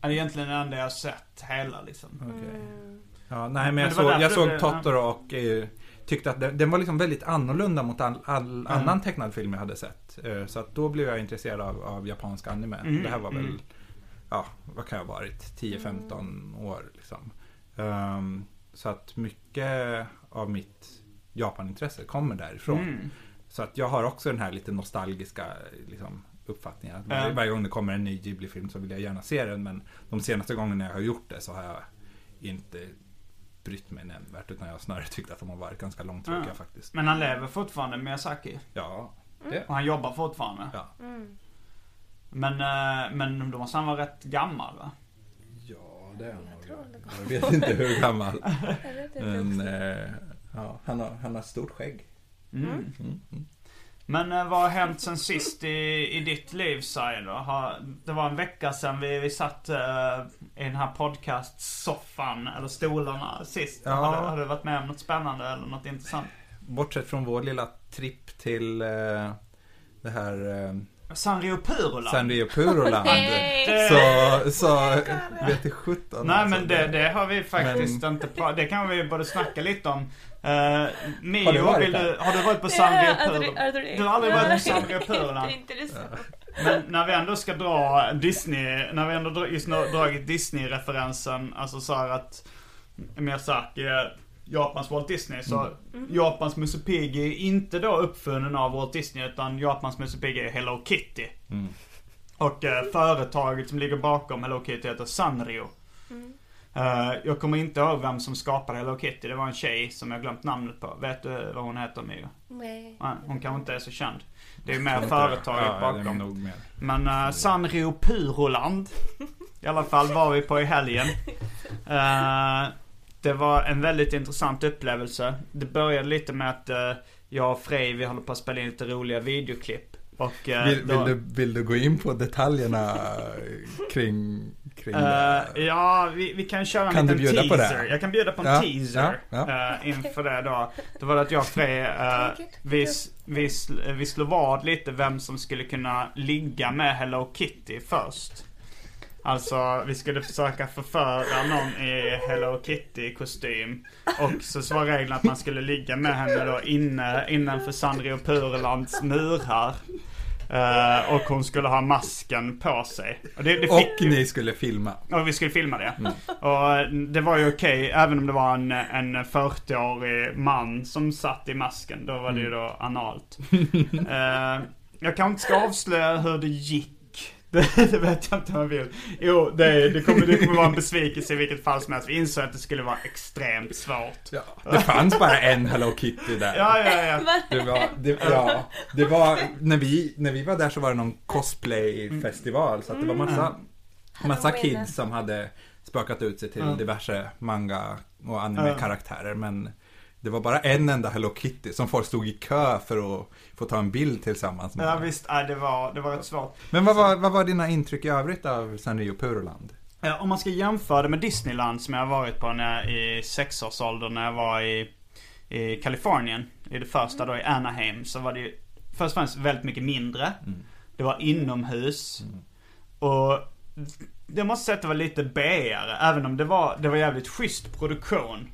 Speaker 2: Det är egentligen det enda jag har sett hela liksom.
Speaker 3: Okej.
Speaker 4: Mm.
Speaker 3: Ja, nej, men,
Speaker 2: Men
Speaker 3: jag,
Speaker 2: det var
Speaker 3: såg, jag
Speaker 2: därför
Speaker 3: såg
Speaker 2: det-
Speaker 3: Totoro och eh, tyckte att den, den var liksom väldigt annorlunda mot all,
Speaker 2: Mm.
Speaker 3: all annan tecknad film jag hade sett. Eh, så att då blev jag intresserad av, av japansk anime.
Speaker 2: Mm,
Speaker 3: Det här var väl,
Speaker 2: mm.
Speaker 3: ja, vad kan jag ha varit, 10-15 år liksom. Ehm, så att mycket av mitt Japanintresse kommer därifrån.
Speaker 2: Mm.
Speaker 3: Så att jag har också den här lite nostalgiska liksom, uppfattningen. Att varje,
Speaker 2: Ja.
Speaker 3: varje gång det kommer en ny Ghibli-film så vill jag gärna se den. Men de senaste gångerna jag har gjort det så har jag inte brytt mig nämnvärt. Utan jag har snarare tyckt att de har varit ganska långtråkiga
Speaker 2: Ja.
Speaker 3: faktiskt.
Speaker 2: Men han lever fortfarande Miyazaki.
Speaker 3: Ja, det.
Speaker 2: Och han jobbar fortfarande.
Speaker 3: Ja.
Speaker 2: Men, eh, men då måste han vara rätt gammal va?
Speaker 3: ja, det är han nog. Jag vet inte hur gammal.
Speaker 4: Jag vet inte.
Speaker 3: Men eh, ja, han, har, han har stort skägg.
Speaker 2: Mm.
Speaker 3: Mm.
Speaker 2: Men eh, vad har hänt sen sist i, i ditt liv Sai då? Har, det var en vecka sedan vi, vi satt eh, i den här podcastsoffan, eller stolarna, sist.
Speaker 3: Ja.
Speaker 2: Har, du, har du varit med om något spännande eller något intressant?
Speaker 3: Bortsett från vår lilla tripp till eh, det här eh,
Speaker 2: Sanrio Purola?
Speaker 3: Sanrio Puroland.
Speaker 4: Nej.
Speaker 3: Så, så vet du sjutton.
Speaker 2: Nej
Speaker 3: alltså,
Speaker 2: men det, det har vi faktiskt inte pratat Det kan vi både snacka lite om. Uh, Mio,
Speaker 3: Har du varit
Speaker 2: vill du,
Speaker 3: där?
Speaker 2: har du varit på
Speaker 4: Jag har
Speaker 2: Sanrio
Speaker 4: aldrig-
Speaker 2: Purola?
Speaker 4: aldrig-
Speaker 2: Du har aldrig varit på
Speaker 4: Nej.
Speaker 2: Sanrio Purola?
Speaker 4: Det är intressant.
Speaker 2: Men när vi ändå ska dra Disney, när vi ändå dra- just nu dragit Disney-referensen, alltså så här att Miyazaki är Japans Walt Disney, så
Speaker 3: Mm.
Speaker 2: Japans Musse Pigg är inte då uppfunnen av Walt Disney, utan Japans Musse Pigg är Hello Kitty.
Speaker 3: Mm.
Speaker 2: Och eh, företaget som ligger bakom Hello Kitty heter Sanrio. Eh, jag kommer inte ihåg vem som skapade Hello Kitty, det var en tjej som jag glömt namnet på. Vet du vad hon heter Mio?
Speaker 4: Nej.
Speaker 2: Nej, hon kanske inte är så känd. Det är ju mer
Speaker 3: Inte-
Speaker 2: företaget
Speaker 3: ja,
Speaker 2: bakom.
Speaker 3: det är nog mer.
Speaker 2: Men eh, Sanrio Puroland I alla fall var vi på i helgen Eh, Det var en väldigt intressant upplevelse Det började lite med att eh, jag och Frej vi håller på att spela in lite roliga videoklipp och, eh,
Speaker 3: Vill,
Speaker 2: då-
Speaker 3: vill, du, vill du gå in på detaljerna kring, kring det?
Speaker 2: Eh, ja, vi, vi kan köra en
Speaker 3: Kan du
Speaker 2: liten
Speaker 3: bjuda på
Speaker 2: teaser.
Speaker 3: det?
Speaker 2: Jag kan bjuda på en
Speaker 3: Ja,
Speaker 2: teaser
Speaker 3: ja,
Speaker 2: eh, inför det då. Det var att jag och Frej, eh, vi, s- vi, sl- eh, vi slog vad lite vem som skulle kunna ligga med Hello Kitty först. Alltså, vi skulle försöka förföra någon i Hello Kitty-kostym. Och så, så var regeln att man skulle ligga med henne då inne, innanför Sanrio Purelands murar. Eh, och hon skulle ha masken på sig. Och det, det fick
Speaker 3: Och
Speaker 2: ju-
Speaker 3: ni skulle filma.
Speaker 2: och vi skulle filma det. Och mm, det var ju okej, även om det var en, en 40-årig man som satt i masken. Då var det ju då analt. Eh, jag kanske inte ska avslöja hur det gick. Det, det vet jag inte om jag vill. Jo, det, det, kommer, det kommer vara en besvikelse i vilket fall som helst. Vi insåg att det skulle vara extremt svårt.
Speaker 3: Ja, det fanns bara en Hello Kitty där.
Speaker 2: Ja, ja, ja.
Speaker 3: Det var, det, ja, det var, när vi, när vi var där så var det någon cosplayfestival så att det var massa,
Speaker 2: Mm.
Speaker 3: massa
Speaker 4: Halloween.
Speaker 3: kids som hade spökat ut sig till
Speaker 2: Mm.
Speaker 3: diverse manga och
Speaker 2: Mm.
Speaker 3: anime-karaktärer men det var bara en enda Hello Kitty som folk stod i kö för att få ta en bild tillsammans med.
Speaker 2: Ja visst, ja, det var, det var rätt svårt.
Speaker 3: Men vad var, vad var dina intryck i övrigt av Sanrio Puroland?
Speaker 2: Eh, Om man ska jämföra det med Disneyland som jag har varit på när, jag- i sexårsåldern när jag var i, i Kalifornien. I det första då i Anaheim så var det ju
Speaker 3: Mm.
Speaker 2: först och främst väldigt mycket mindre. Det var inomhus. Och Jag måste säga att det var lite B-are, även om det var, det var jävligt schysst produktion.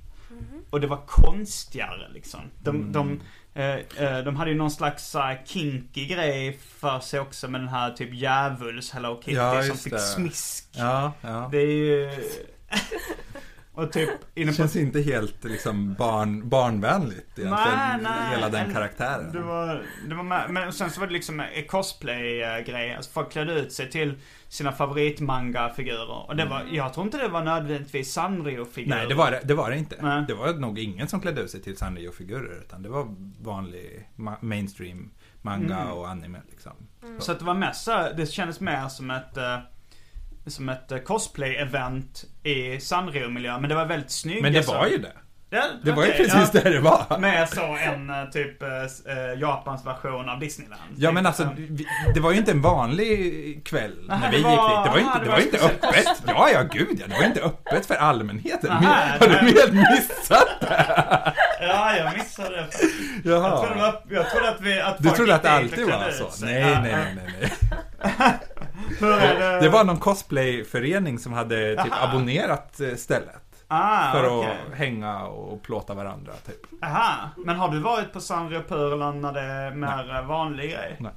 Speaker 2: Och det var konstigare liksom. De,
Speaker 3: Mm.
Speaker 2: de, eh, eh, de hade ju någon slags så här, kinky grej för sig också med den här typ djävuls Hello Kitty
Speaker 3: Ja,
Speaker 2: som
Speaker 3: just
Speaker 2: fick
Speaker 3: det.
Speaker 2: smisk.
Speaker 3: Ja, ja.
Speaker 2: Det är ju... Och typ inne
Speaker 3: Det
Speaker 2: på...
Speaker 3: känns inte helt liksom barn, barnvänligt egentligen.
Speaker 2: Nej, nej.
Speaker 3: hela den
Speaker 2: En-
Speaker 3: karaktären.
Speaker 2: Det var, det var med, men sen så var det liksom en cosplay-grej. Alltså folk klädde ut sig till sina favoritmanga-figurer. Och det var, jag tror inte det var nödvändigtvis Sanrio-figurer.
Speaker 3: Mm. Typ Nej, det var det, det, var det inte.
Speaker 2: Nej.
Speaker 3: Det var nog ingen som klädde ut sig till Sanrio-figurer. Utan det var vanlig ma- mainstream manga
Speaker 2: Mm.
Speaker 3: och anime liksom.
Speaker 2: Så att det var mest så här- det kändes mer som ett eh, som ett eh, cosplay-event i Sanrio-miljö. Men det var väldigt snyggt.
Speaker 3: Men det var ju det.
Speaker 2: Ja,
Speaker 3: Det var ju
Speaker 2: okej,
Speaker 3: precis
Speaker 2: ja.
Speaker 3: det det var.
Speaker 2: Mer så än eh, typ eh, s- eh, Japans version av Disneyland.
Speaker 3: Ja men alltså,
Speaker 2: Eh,
Speaker 3: vi- det var ju inte en vanlig kväll
Speaker 2: Aha,
Speaker 3: när vi
Speaker 2: det
Speaker 3: gick
Speaker 2: var-
Speaker 3: dit. Det var ju
Speaker 2: aha,
Speaker 3: inte,
Speaker 2: det
Speaker 3: det
Speaker 2: var
Speaker 3: var inte
Speaker 2: speciellt.
Speaker 3: öppet. Ja, ja, gud ja. Det var inte öppet för allmänheten.
Speaker 2: Aha,
Speaker 3: Men- Har du
Speaker 2: nej.
Speaker 3: helt missat det?
Speaker 2: Ja, jag missade det. Jag trodde, det
Speaker 3: Jaha.
Speaker 2: var, jag trodde att vi... Att
Speaker 3: Du
Speaker 2: folk
Speaker 3: trodde
Speaker 2: gick
Speaker 3: att det
Speaker 2: dit och
Speaker 3: alltid
Speaker 2: klädde
Speaker 3: var
Speaker 2: ut
Speaker 3: så?
Speaker 2: sig.
Speaker 3: Nej,
Speaker 2: Ja,
Speaker 3: nej,
Speaker 2: ja.
Speaker 3: nej, nej. nej.
Speaker 2: Hur är
Speaker 3: Det var någon cosplayförening som hade typ abonnerat eh, stället.
Speaker 2: Ah,
Speaker 3: För
Speaker 2: okej.
Speaker 3: att hänga och plåta varandra, typ.
Speaker 2: Aha. Men har du varit på Sanrio Pureland när det är mer eh, vanlig grej?
Speaker 3: Nej.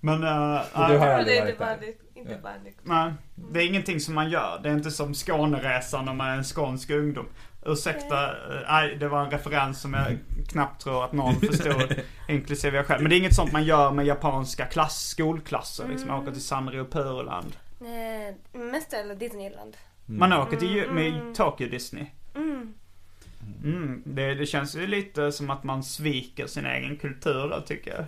Speaker 2: Men... eh,
Speaker 3: Och
Speaker 2: ah,
Speaker 3: du har
Speaker 4: Ja, det
Speaker 3: aldrig
Speaker 4: är
Speaker 3: varit
Speaker 4: inte
Speaker 3: där?
Speaker 4: vanligt. Inte
Speaker 3: Ja.
Speaker 4: vanligt.
Speaker 2: Nej, det är ingenting som man gör. Det är inte som Skåneresan när man är en skånsk ungdom. Ursäkta, eh, nej det var en referens som jag knappt tror att någon förstod, inklusive jag själv. Men det är inget sånt man gör med japanska klass, skolklasser liksom. Man åker till Sanrio Pureland.
Speaker 4: Nej, mest eller Disneyland.
Speaker 2: Man åker till ju- med Tokyo Disney. Mm, det, det känns ju lite som att man sviker sin egen kultur då tycker jag.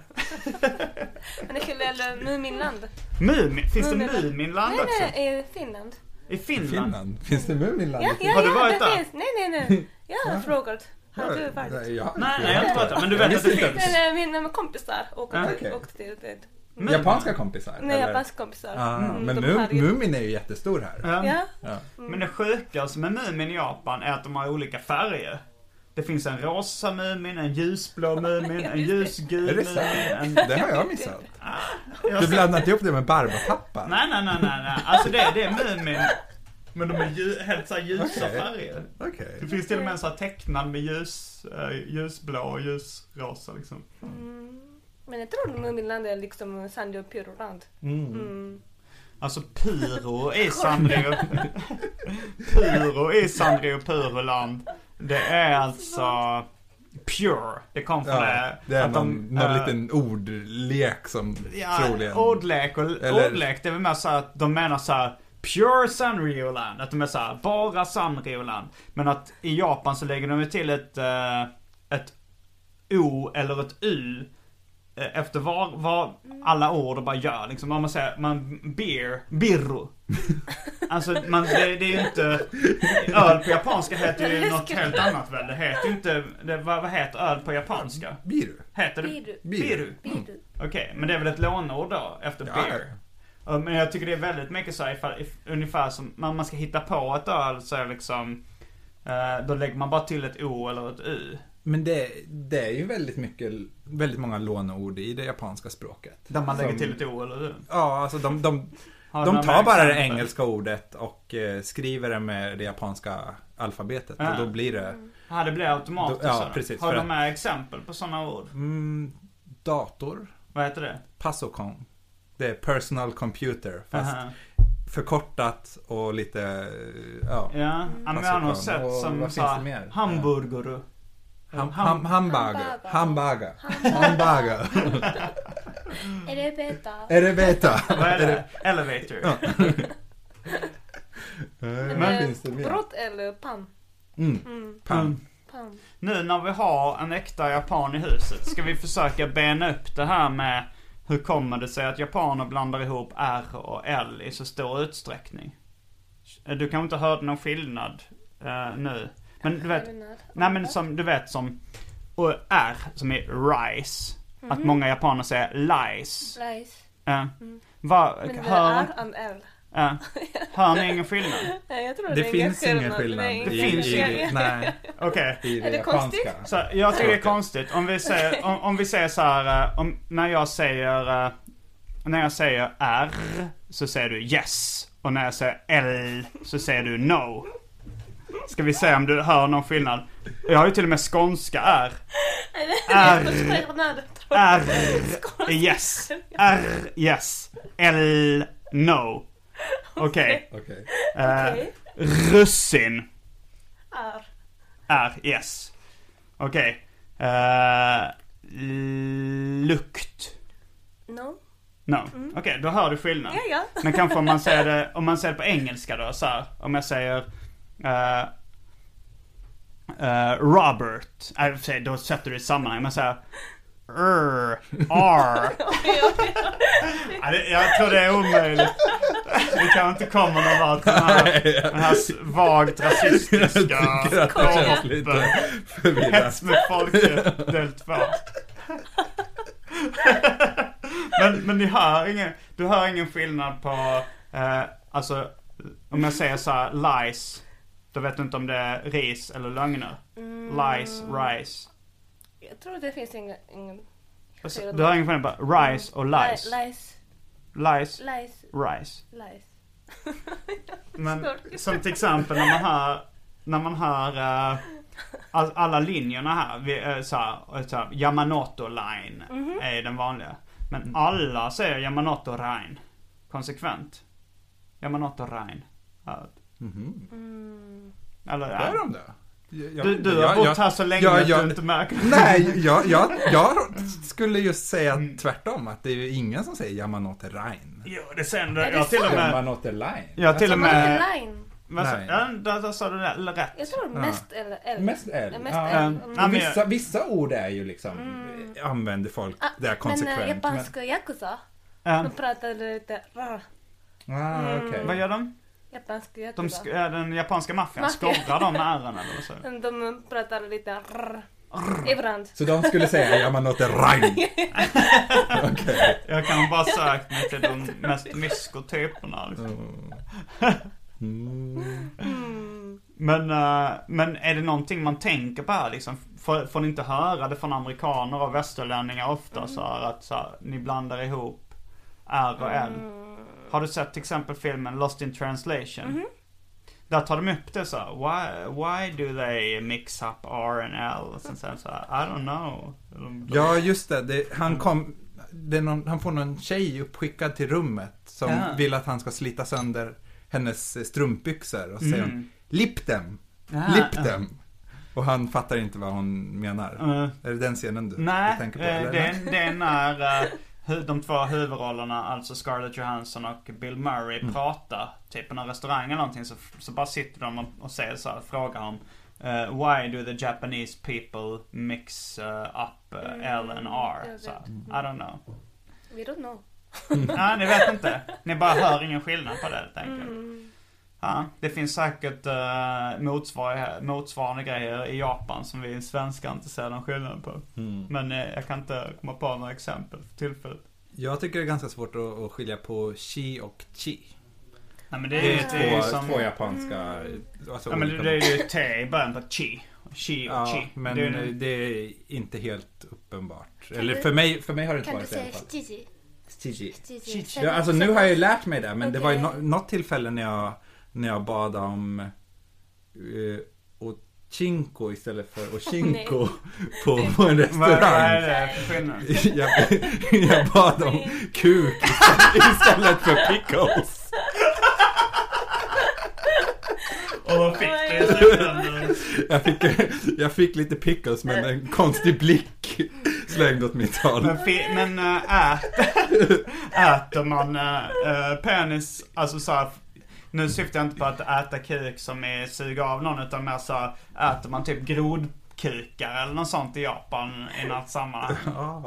Speaker 4: Men det skulle eller Muminland.
Speaker 2: Mumin, finns det
Speaker 4: Muminland.
Speaker 2: Muminland
Speaker 4: Nej,
Speaker 2: också?
Speaker 4: nej, i Finland.
Speaker 2: I Finland?
Speaker 3: Finland? Finns det Muminland?
Speaker 4: Ja, ja,
Speaker 2: Har du
Speaker 4: ja,
Speaker 2: varit
Speaker 4: det
Speaker 2: där?
Speaker 4: finns. Nej, nej, nej. Jag har frågat. Har du varit?
Speaker 3: Ja, ja.
Speaker 2: Nej, nej jag har inte varit där, men du vet att det finns.
Speaker 4: Nej, nej, mina kompisar åkte,
Speaker 2: Ah,
Speaker 3: okej.
Speaker 4: åkte till det.
Speaker 2: Men-
Speaker 3: Japanska kompisar?
Speaker 4: Nej,
Speaker 3: eller?
Speaker 4: japanska kompisar.
Speaker 3: Ah,
Speaker 4: Mm,
Speaker 3: men
Speaker 4: de
Speaker 3: Mu-
Speaker 4: hade ju-
Speaker 3: Mumin är ju jättestor här.
Speaker 2: Ja.
Speaker 4: Ja,
Speaker 2: Men det sjukaste med Mumin i Japan är att de har olika färger. Det finns en rosa Mumin, en ljusblå Mumin, en ljusgul
Speaker 3: Är det
Speaker 2: Mumin, en...
Speaker 3: sant? Det har jag missat. Du blandar inte ihop det med Barbapappa?
Speaker 2: Nej, nej, nej, nej, nej. Alltså det, det är Mumin. Men de är ju, helt så här ljusa
Speaker 3: Okej.
Speaker 2: färger.
Speaker 3: Okej.
Speaker 2: Det finns till och med en sån här tecknad med ljus, eh, ljusblå och ljusrosa liksom.
Speaker 4: men jag tror Muminland är liksom Sandio Pyroland. Mm.
Speaker 2: Alltså Pyro i Sanrio... Pyro i Sanrio Puroland. Det är alltså... Pure. Det kom från
Speaker 3: Ja,
Speaker 2: det.
Speaker 3: det är
Speaker 2: att
Speaker 3: någon,
Speaker 2: de,
Speaker 3: någon
Speaker 2: eh,
Speaker 3: liten ordlek som
Speaker 2: Ja,
Speaker 3: troligen...
Speaker 2: ordlek och
Speaker 3: Eller-
Speaker 2: ordlek, det är väl mer så här att de menar så här Pure Sanrioland, att de är så här, bara Sanrioland. Men att i Japan så lägger de ju till ett, eh, ett O eller ett U eh, efter var, var alla ord och bara gör liksom. Om man säger, man, beer, birro. alltså man, det, det är ju inte, öl på japanska heter ju något helt annat väl? Det heter ju inte, det, vad, vad heter öl på japanska?
Speaker 3: Blir du?
Speaker 2: Heter det?
Speaker 4: Biru.
Speaker 2: Biru.
Speaker 4: Biru.
Speaker 2: Okej, men det är väl ett lånord då efter
Speaker 3: Ja.
Speaker 2: beer? Ja, Men jag tycker det är väldigt mycket så här, ifall, if, ungefär som när man ska hitta på ett öl så är det liksom eh, Då lägger man bara till ett O eller ett U.
Speaker 3: Men det, det är ju väldigt mycket, väldigt många låneord i det japanska språket.
Speaker 2: Där man lägger
Speaker 3: Som-
Speaker 2: till ett O eller U.
Speaker 3: Ja, alltså de, de,
Speaker 2: Har du
Speaker 3: de
Speaker 2: några
Speaker 3: tar bara det
Speaker 2: exempel?
Speaker 3: engelska ordet och eh, skriver det med det japanska alfabetet.
Speaker 2: Ja.
Speaker 3: Och då blir det
Speaker 2: Ja, det blir automatiskt
Speaker 3: Då- ja,
Speaker 2: sådär.
Speaker 3: precis,
Speaker 2: Har
Speaker 3: för
Speaker 2: du
Speaker 3: att-
Speaker 2: några exempel på sådana ord?
Speaker 3: mm, dator,
Speaker 2: Vad heter det?
Speaker 3: pasokong. Det är personal computer, fast
Speaker 2: Aha.
Speaker 3: förkortat och lite, eh, ja.
Speaker 2: Ja, ja, men jag har nog
Speaker 3: Pasokon.
Speaker 2: sett
Speaker 3: Och
Speaker 2: som
Speaker 3: vad
Speaker 2: så
Speaker 3: finns
Speaker 2: här,
Speaker 3: det mer?
Speaker 2: hamburgare.
Speaker 3: Ham, ham, hamburger. Hamburger.
Speaker 4: Hamburger.
Speaker 3: Hamburger.
Speaker 4: Är det bättre?
Speaker 3: Är det beta?
Speaker 2: Vad är det? Elevator.
Speaker 3: Men finns det mer?
Speaker 4: Brott eller pan?
Speaker 2: Mm.
Speaker 3: Pan.
Speaker 4: pan.
Speaker 2: Nu när vi har en äkta japan i huset, ska vi försöka bena upp det här med hur kommer det sig att japaner blandar ihop R och L i så stor utsträckning? Du kanske inte hörde någon skillnad eh, nu. Men du vet,
Speaker 4: Skillnad?
Speaker 2: nej men som, du vet som och R som är rice.
Speaker 4: Mhm.
Speaker 2: Att många japaner säger lies.
Speaker 4: Lies.
Speaker 2: Eh, vad-
Speaker 4: Mm. Men det
Speaker 2: hör,
Speaker 4: är and L.
Speaker 2: eh, hör ni ingen skillnad?
Speaker 4: Nej, jag tror
Speaker 3: Det
Speaker 4: är
Speaker 3: finns ingen skillnad
Speaker 4: Nej,
Speaker 3: i,
Speaker 2: finns
Speaker 3: i,
Speaker 2: ingen.
Speaker 3: i, nej,
Speaker 2: Okej.
Speaker 3: i det
Speaker 4: Är det konstigt?
Speaker 3: japanska.
Speaker 2: Så jag tycker det är konstigt om vi säger, om, om vi säger så här, eh, om, när jag säger, eh, när jag säger R så säger du yes. Och när jag säger L så säger du no. Ska vi se om du hör någon skillnad. Jag har ju till och med skånska R.
Speaker 4: Jag är förskönad.
Speaker 2: R, yes. R, yes. L, no. Okej.
Speaker 3: Okej.
Speaker 2: Eh,
Speaker 4: Okej.
Speaker 2: russin.
Speaker 4: Är.
Speaker 2: R, yes. Okej. Eh, lukt.
Speaker 4: No.
Speaker 2: No. Okej, då hör du skillnad.
Speaker 4: Mm. Ja, ja.
Speaker 2: Men kanske om man säger det, om man säger det på engelska då, så här, Om jag säger eh, eh, Robert. Nej, i och för sig, då sätter du i sammanhang. Men säger R, R. Ja, det- Jag tror det är omöjligt. Vi kan inte komma någon vart med den här, den här s- vagt rasistiska
Speaker 3: Jag tycker att det känns lite
Speaker 2: korpen.
Speaker 3: förvirrat.
Speaker 2: Hets mot folkrätt del 2. men men ni hör ingen, du hör ingen skillnad på, eh, alltså om jag säger så här lies, då vet du inte om det är ris eller lögner. Lies, rice.
Speaker 4: Jag tror det finns ingen... ingen
Speaker 2: Alltså, du hör ingen skillnad på rice och
Speaker 4: Mm.
Speaker 2: lies.
Speaker 4: Lies.
Speaker 2: Lies,
Speaker 4: Lies.
Speaker 2: rice.
Speaker 4: Lies.
Speaker 2: Men
Speaker 4: Sorry.
Speaker 2: som till exempel när man hör, när man hör eh, all, alla linjerna här. Vi, eh, så här, eh, så här Yamanoto line är ju den vanliga. Men alla säger Yamanoto line konsekvent. Yamanoto line. Ja. Mm. Eller, ja.
Speaker 3: Gör de det? Jag- jag-
Speaker 2: Du, du har
Speaker 3: jag-
Speaker 2: bott
Speaker 3: jag-
Speaker 2: här så länge
Speaker 3: jag-
Speaker 2: att
Speaker 3: jag-
Speaker 2: du inte märker
Speaker 3: Nej, jag, jag, jag skulle just säga tvärtom. Att det är ju ingen som säger Yamanote Rein.
Speaker 2: Jo, det säger ändå.
Speaker 4: det
Speaker 2: Jag till och med...
Speaker 3: Yamanote Line. Alltså,
Speaker 2: Jag till och
Speaker 4: Man har
Speaker 2: med...
Speaker 4: en line.
Speaker 2: Vad sa-
Speaker 3: Nej.
Speaker 2: Ja, där, där sa du det eller rätt.
Speaker 4: Jag tror mest eller L.
Speaker 3: Mest L.
Speaker 4: Ja, Mest
Speaker 3: Ja.
Speaker 4: L.
Speaker 2: Ja,
Speaker 4: Mm.
Speaker 2: men-
Speaker 3: Vissa, vissa ord är ju liksom, använder folk
Speaker 4: Ah,
Speaker 3: det är konsekvent.
Speaker 4: Men eh, japanska yakuza,
Speaker 2: Ja.
Speaker 4: de pratar lite... rr.
Speaker 3: Men, ah, okej.
Speaker 2: Eh, Mm. Vad gör de?
Speaker 4: Japanska
Speaker 2: de
Speaker 4: yakuza.
Speaker 2: sk- eh, den japanska maffian,
Speaker 4: Maffia.
Speaker 2: skorrar de med ärren eller vad säger du?
Speaker 4: De pratar lite... rr. Ibland.
Speaker 3: Så de skulle säga Yamanote Rein. Okej.
Speaker 2: Jag kan bara sökt mig till de mest myskotyperna. Liksom.
Speaker 3: Mm.
Speaker 2: Men, eh, men är det någonting man tänker på här liksom? Får, får ni inte höra det från amerikaner och västerlänningar ofta så här att så här, ni blandar ihop R och L? Har du sett till exempel filmen Lost in translation? Där tar de upp det så här, why, why do they mix up R and L? Och sen så här, så här, I don't know. De- de-
Speaker 3: Ja, just det. det han, kom, det är någon, han får någon tjej uppskickad till rummet som
Speaker 2: Ja.
Speaker 3: vill att han ska slita sönder hennes eh, strumpbyxor och så säger hon Lip them!
Speaker 2: Mm. Ja,
Speaker 3: Lip them! Och han fattar inte vad hon menar.
Speaker 2: Mm.
Speaker 3: Är det den scenen du, du
Speaker 2: Nej,
Speaker 3: tänker på?
Speaker 2: eh,
Speaker 3: eller?
Speaker 2: det, är- det är när eh, hu- de två huvudrollerna, alltså Scarlett Johansson och Bill Murray,
Speaker 3: Mm.
Speaker 2: pratar. Typ på någon restaurang eller någonting så, så bara sitter de och, och säger så här, frågar om eh, Why do the Japanese people mix eh, up eh, L and R?
Speaker 4: Mm, jag
Speaker 2: Så, här,
Speaker 4: vet.
Speaker 2: I don't know.
Speaker 4: We don't know.
Speaker 2: Nej, ni vet inte. Ni bara hör ingen skillnad på det helt enkelt. Ja, det finns säkert eh, motsvar- motsvarande grejer i Japan som vi svenskar inte ser någon skillnad på. Men eh, jag kan inte komma på några exempel för tillfället.
Speaker 3: Jag tycker det är ganska svårt att, att skilja på chi och chi.
Speaker 2: Nej men det är,
Speaker 3: Det
Speaker 2: ju- det är ju
Speaker 3: är två,
Speaker 2: som...
Speaker 3: två japanska... Alltså
Speaker 2: Ja, men det,
Speaker 3: olika-
Speaker 2: det är ju te i början på chi. Chi och
Speaker 3: Ja,
Speaker 2: chi.
Speaker 3: men
Speaker 2: det är,
Speaker 3: eh,
Speaker 2: ju-
Speaker 3: det är inte helt uppenbart. Eller för mig, för mig har det inte
Speaker 4: Kan du
Speaker 3: varit det i alla
Speaker 4: säga
Speaker 3: fall.
Speaker 4: chichi?
Speaker 3: Chi-chi.
Speaker 4: Chichi.
Speaker 3: Ja, alltså nu har jag ju lärt mig det, men det var ju
Speaker 4: Okej.
Speaker 3: no- något tillfälle när jag, när jag bad om uh, Ochinko istället för Ochinko på, på en
Speaker 2: vad, vad är
Speaker 3: restaurang.
Speaker 2: det för skillnad?
Speaker 3: Jag, jag bad om kuk istället- istället för pickles.
Speaker 2: Och vad fick du i slutändan?
Speaker 3: Jag fick, jag fick lite pickles men en konstig blick slängd åt mitt håll.
Speaker 2: Men, fi- men äh, äter, äter man äh, äh, penis, alltså såhär, nu syftar jag inte på att äta kuk som är suga av någon utan mer såhär, äter man typ grodkukar eller något sånt i Japan i något sammanhang?
Speaker 3: Ah,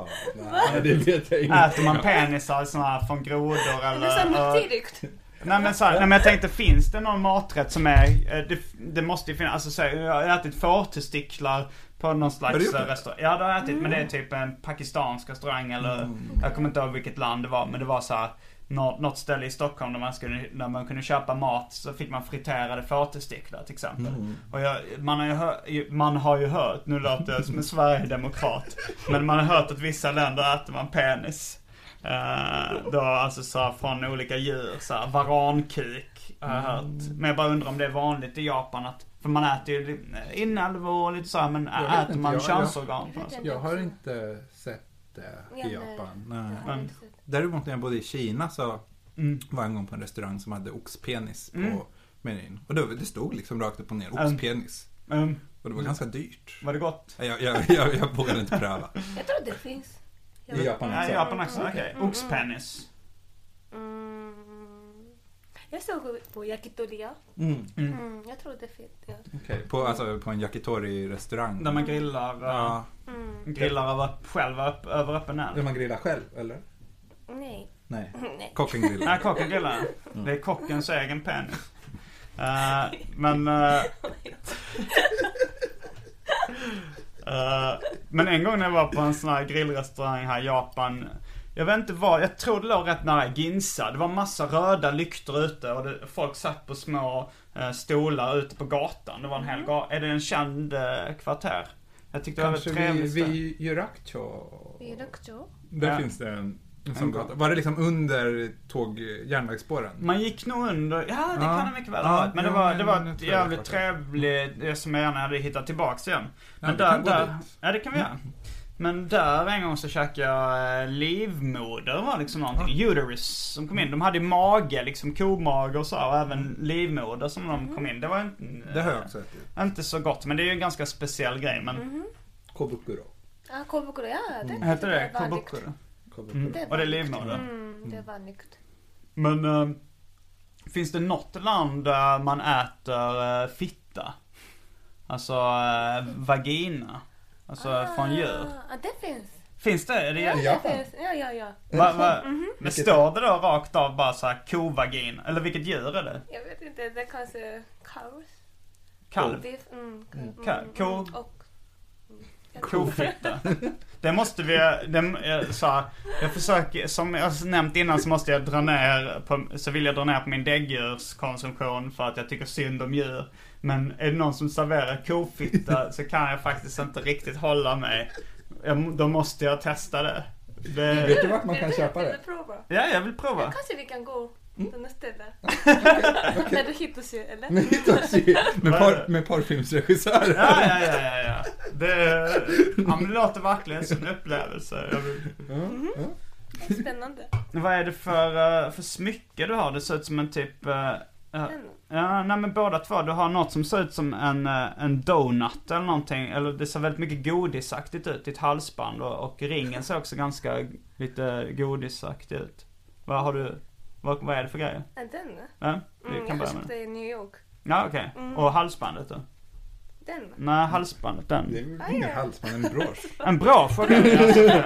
Speaker 3: nej, det vet jag inte.
Speaker 2: Äter man penisar såna här från grodor
Speaker 4: Det är
Speaker 2: eller? och-
Speaker 4: samtidigt.
Speaker 2: Nej men, så här, nej men jag tänkte, finns det någon maträtt som är, eh, det, det måste ju finnas, alltså så här, jag har ätit fårtestiklar på någon
Speaker 3: Har du
Speaker 2: slags eh,
Speaker 3: gjort det?
Speaker 2: restaurang. Ja det har jag ätit men det är typ en pakistansk restaurang eller,
Speaker 3: Mm.
Speaker 2: jag kommer inte ihåg vilket land det var men det var så här. Något, något ställe i Stockholm där man, skulle, där man kunde köpa mat så fick man friterade fårtestiklar till exempel.
Speaker 3: Mm.
Speaker 2: Och jag, man, har ju hör, man har ju hört, nu låter jag som en sverigedemokrat, men man har hört att vissa länder äter man penis. Eh, då alltså så här, från olika djur, så här, varankuk har jag hört.
Speaker 3: Mm.
Speaker 2: Men jag bara undrar om det är vanligt i Japan att, för man äter ju li- inälvor och lite så här, men
Speaker 3: Jag vet
Speaker 2: äter
Speaker 3: inte,
Speaker 2: man
Speaker 3: jag- jag-
Speaker 2: könsorgan? på något sätt?
Speaker 3: Jag har inte sett det
Speaker 4: Ja,
Speaker 3: i
Speaker 4: nej.
Speaker 3: Japan. Nej.
Speaker 4: Jag har inte sett.
Speaker 3: Däremot när jag bodde i Kina så
Speaker 2: Mm.
Speaker 3: var jag en gång på en restaurang som hade oxpenis på
Speaker 2: Mm.
Speaker 3: menyn. Och då, det stod liksom rakt upp och ner, oxpenis.
Speaker 2: Mm.
Speaker 3: Och det var ganska dyrt.
Speaker 2: Var det gott?
Speaker 3: Jag, jag, jag, jag vågade inte pröva.
Speaker 4: Jag tror det finns. Jag
Speaker 3: I
Speaker 4: vet-
Speaker 3: Japan
Speaker 2: Ja,
Speaker 3: också.
Speaker 2: Japan också, okej.
Speaker 4: Mm.
Speaker 2: Oxpenis.
Speaker 4: Mm. Jag såg på Yakitoria.
Speaker 3: Mm.
Speaker 4: Mm, jag tror det finns. Ja.
Speaker 3: Okej, På, alltså, på en yakitori-restaurang.
Speaker 2: Där man grillar, eh,
Speaker 3: Ja,
Speaker 4: Mm.
Speaker 2: grillar över, själv öpp, över öppen
Speaker 3: där
Speaker 2: eld.
Speaker 3: man grillar själv, eller?
Speaker 4: Nej.
Speaker 3: Nej.
Speaker 4: Nej.
Speaker 3: Kocken grillar.
Speaker 2: Nej, kocken grillar. Det är kockens egen penis. Eh, men... eh, eh, men en gång när jag var på en sån här grillrestaurang här i Japan. Jag vet inte vad, jag tror det låg rätt nära Ginza. Det var massa röda lyktor ute och det, folk satt på små eh, stolar ute på gatan. Det var en hel ga- Är det en känd eh, kvarter? Jag tyckte
Speaker 3: Mm. Kanske
Speaker 2: det var ett
Speaker 3: vi,
Speaker 2: trevligt ställe.
Speaker 3: vi Yurakcho.
Speaker 4: Irakcho.
Speaker 3: Där
Speaker 2: Ja.
Speaker 3: finns det en, en sån
Speaker 2: En-
Speaker 3: gata. Var det liksom under tåg, järnvägsspåren?
Speaker 2: Man gick nog under, ja det
Speaker 3: Ja.
Speaker 2: kan det mycket väl
Speaker 3: Ja,
Speaker 2: ha varit. Men det
Speaker 3: ja,
Speaker 2: var,
Speaker 3: men
Speaker 2: det var
Speaker 3: jag
Speaker 2: ett
Speaker 3: tror jag
Speaker 2: jävligt
Speaker 3: vet
Speaker 2: trevligt, det som jag gärna hade hittat tillbaks igen. Men
Speaker 3: vi
Speaker 2: där,
Speaker 3: kan gå
Speaker 2: där,
Speaker 3: dit. Mm.
Speaker 2: ja det kan vi göra. Men där en gång så käkade jag eh, livmoder var liksom någonting. Uterus som kom in. De hade mage, liksom komage och så här, och även livmoder som de
Speaker 4: Mm.
Speaker 2: kom in. Det var inte,
Speaker 3: Mm. Det har jag också ätit.
Speaker 2: inte så gott men det är ju en ganska speciell grej. Men,
Speaker 4: Mm.
Speaker 3: Kobukuro.
Speaker 4: Ah, Kobukuro, ja. Det,
Speaker 2: Heter det
Speaker 4: var nykt.
Speaker 2: kobukuro?
Speaker 3: Kobukuro.
Speaker 2: Mm.
Speaker 4: Det
Speaker 2: Och det är
Speaker 4: var nykt.
Speaker 2: livmoder?
Speaker 4: Mm, det var nykt.
Speaker 2: Men eh, finns det något land där man äter eh, fitta? Alltså eh, vagina? Alltså från djur?
Speaker 4: Ah, det finns.
Speaker 2: Finns det? Är det
Speaker 4: Ja, Mhm.
Speaker 3: Japan?
Speaker 4: det finns. Ja, ja, ja.
Speaker 2: va, va, Men står det då rakt av bara så här kovagin? Eller vilket djur är det?
Speaker 4: Jag vet inte, det kanske cows.
Speaker 2: Kalv?
Speaker 4: Beef, mm, ko- mm,
Speaker 2: Ka-
Speaker 4: mm,
Speaker 2: ko-
Speaker 4: och
Speaker 2: Kofitta? Det måste vi, det, eh, så här, jag försöker, som jag nämnt innan så måste jag dra ner på, så vill jag dra ner på min däggdjurskonsumtion för att jag tycker synd om djur. Men är det någon som serverar kofitta så kan jag faktiskt inte riktigt hålla mig. Jag, då måste jag testa det. det
Speaker 3: Vet du vart man kan köpa
Speaker 4: Vill du
Speaker 3: det? Mm.
Speaker 4: prova?
Speaker 2: ja, jag vill prova.
Speaker 4: Kanske vi kan gå till nästa ställe. När du hittar sig, eller?
Speaker 3: Med porr- med porrfilmsregissörer.
Speaker 2: Ja, ja, ja, ja, ja. Det, ja men det låter verkligen som en upplevelse. Jag vill,
Speaker 4: Spännande.
Speaker 2: Vad är det för, eh, för smycke du har? Det ser ut som en typ... eh, eh, Ja, nej men båda två. Du har något som ser ut som en, eh, en donut eller någonting. Eller det ser väldigt mycket godisaktigt ut. Ditt halsband och, och ringen ser också ganska lite godisaktig ut. Vad har du? Vad, vad är det för grejer?
Speaker 4: Ja, Den?
Speaker 2: Ja,
Speaker 4: Mm,
Speaker 2: vi kan börja
Speaker 4: jag
Speaker 2: med
Speaker 4: köpte
Speaker 2: det.
Speaker 4: i New York.
Speaker 2: Ja, okej. Och halsbandet då?
Speaker 4: Den?
Speaker 2: Nej, halsbandet den.
Speaker 3: Det är väl ingen hals, men en brosch.
Speaker 2: En bra fråga. Jag-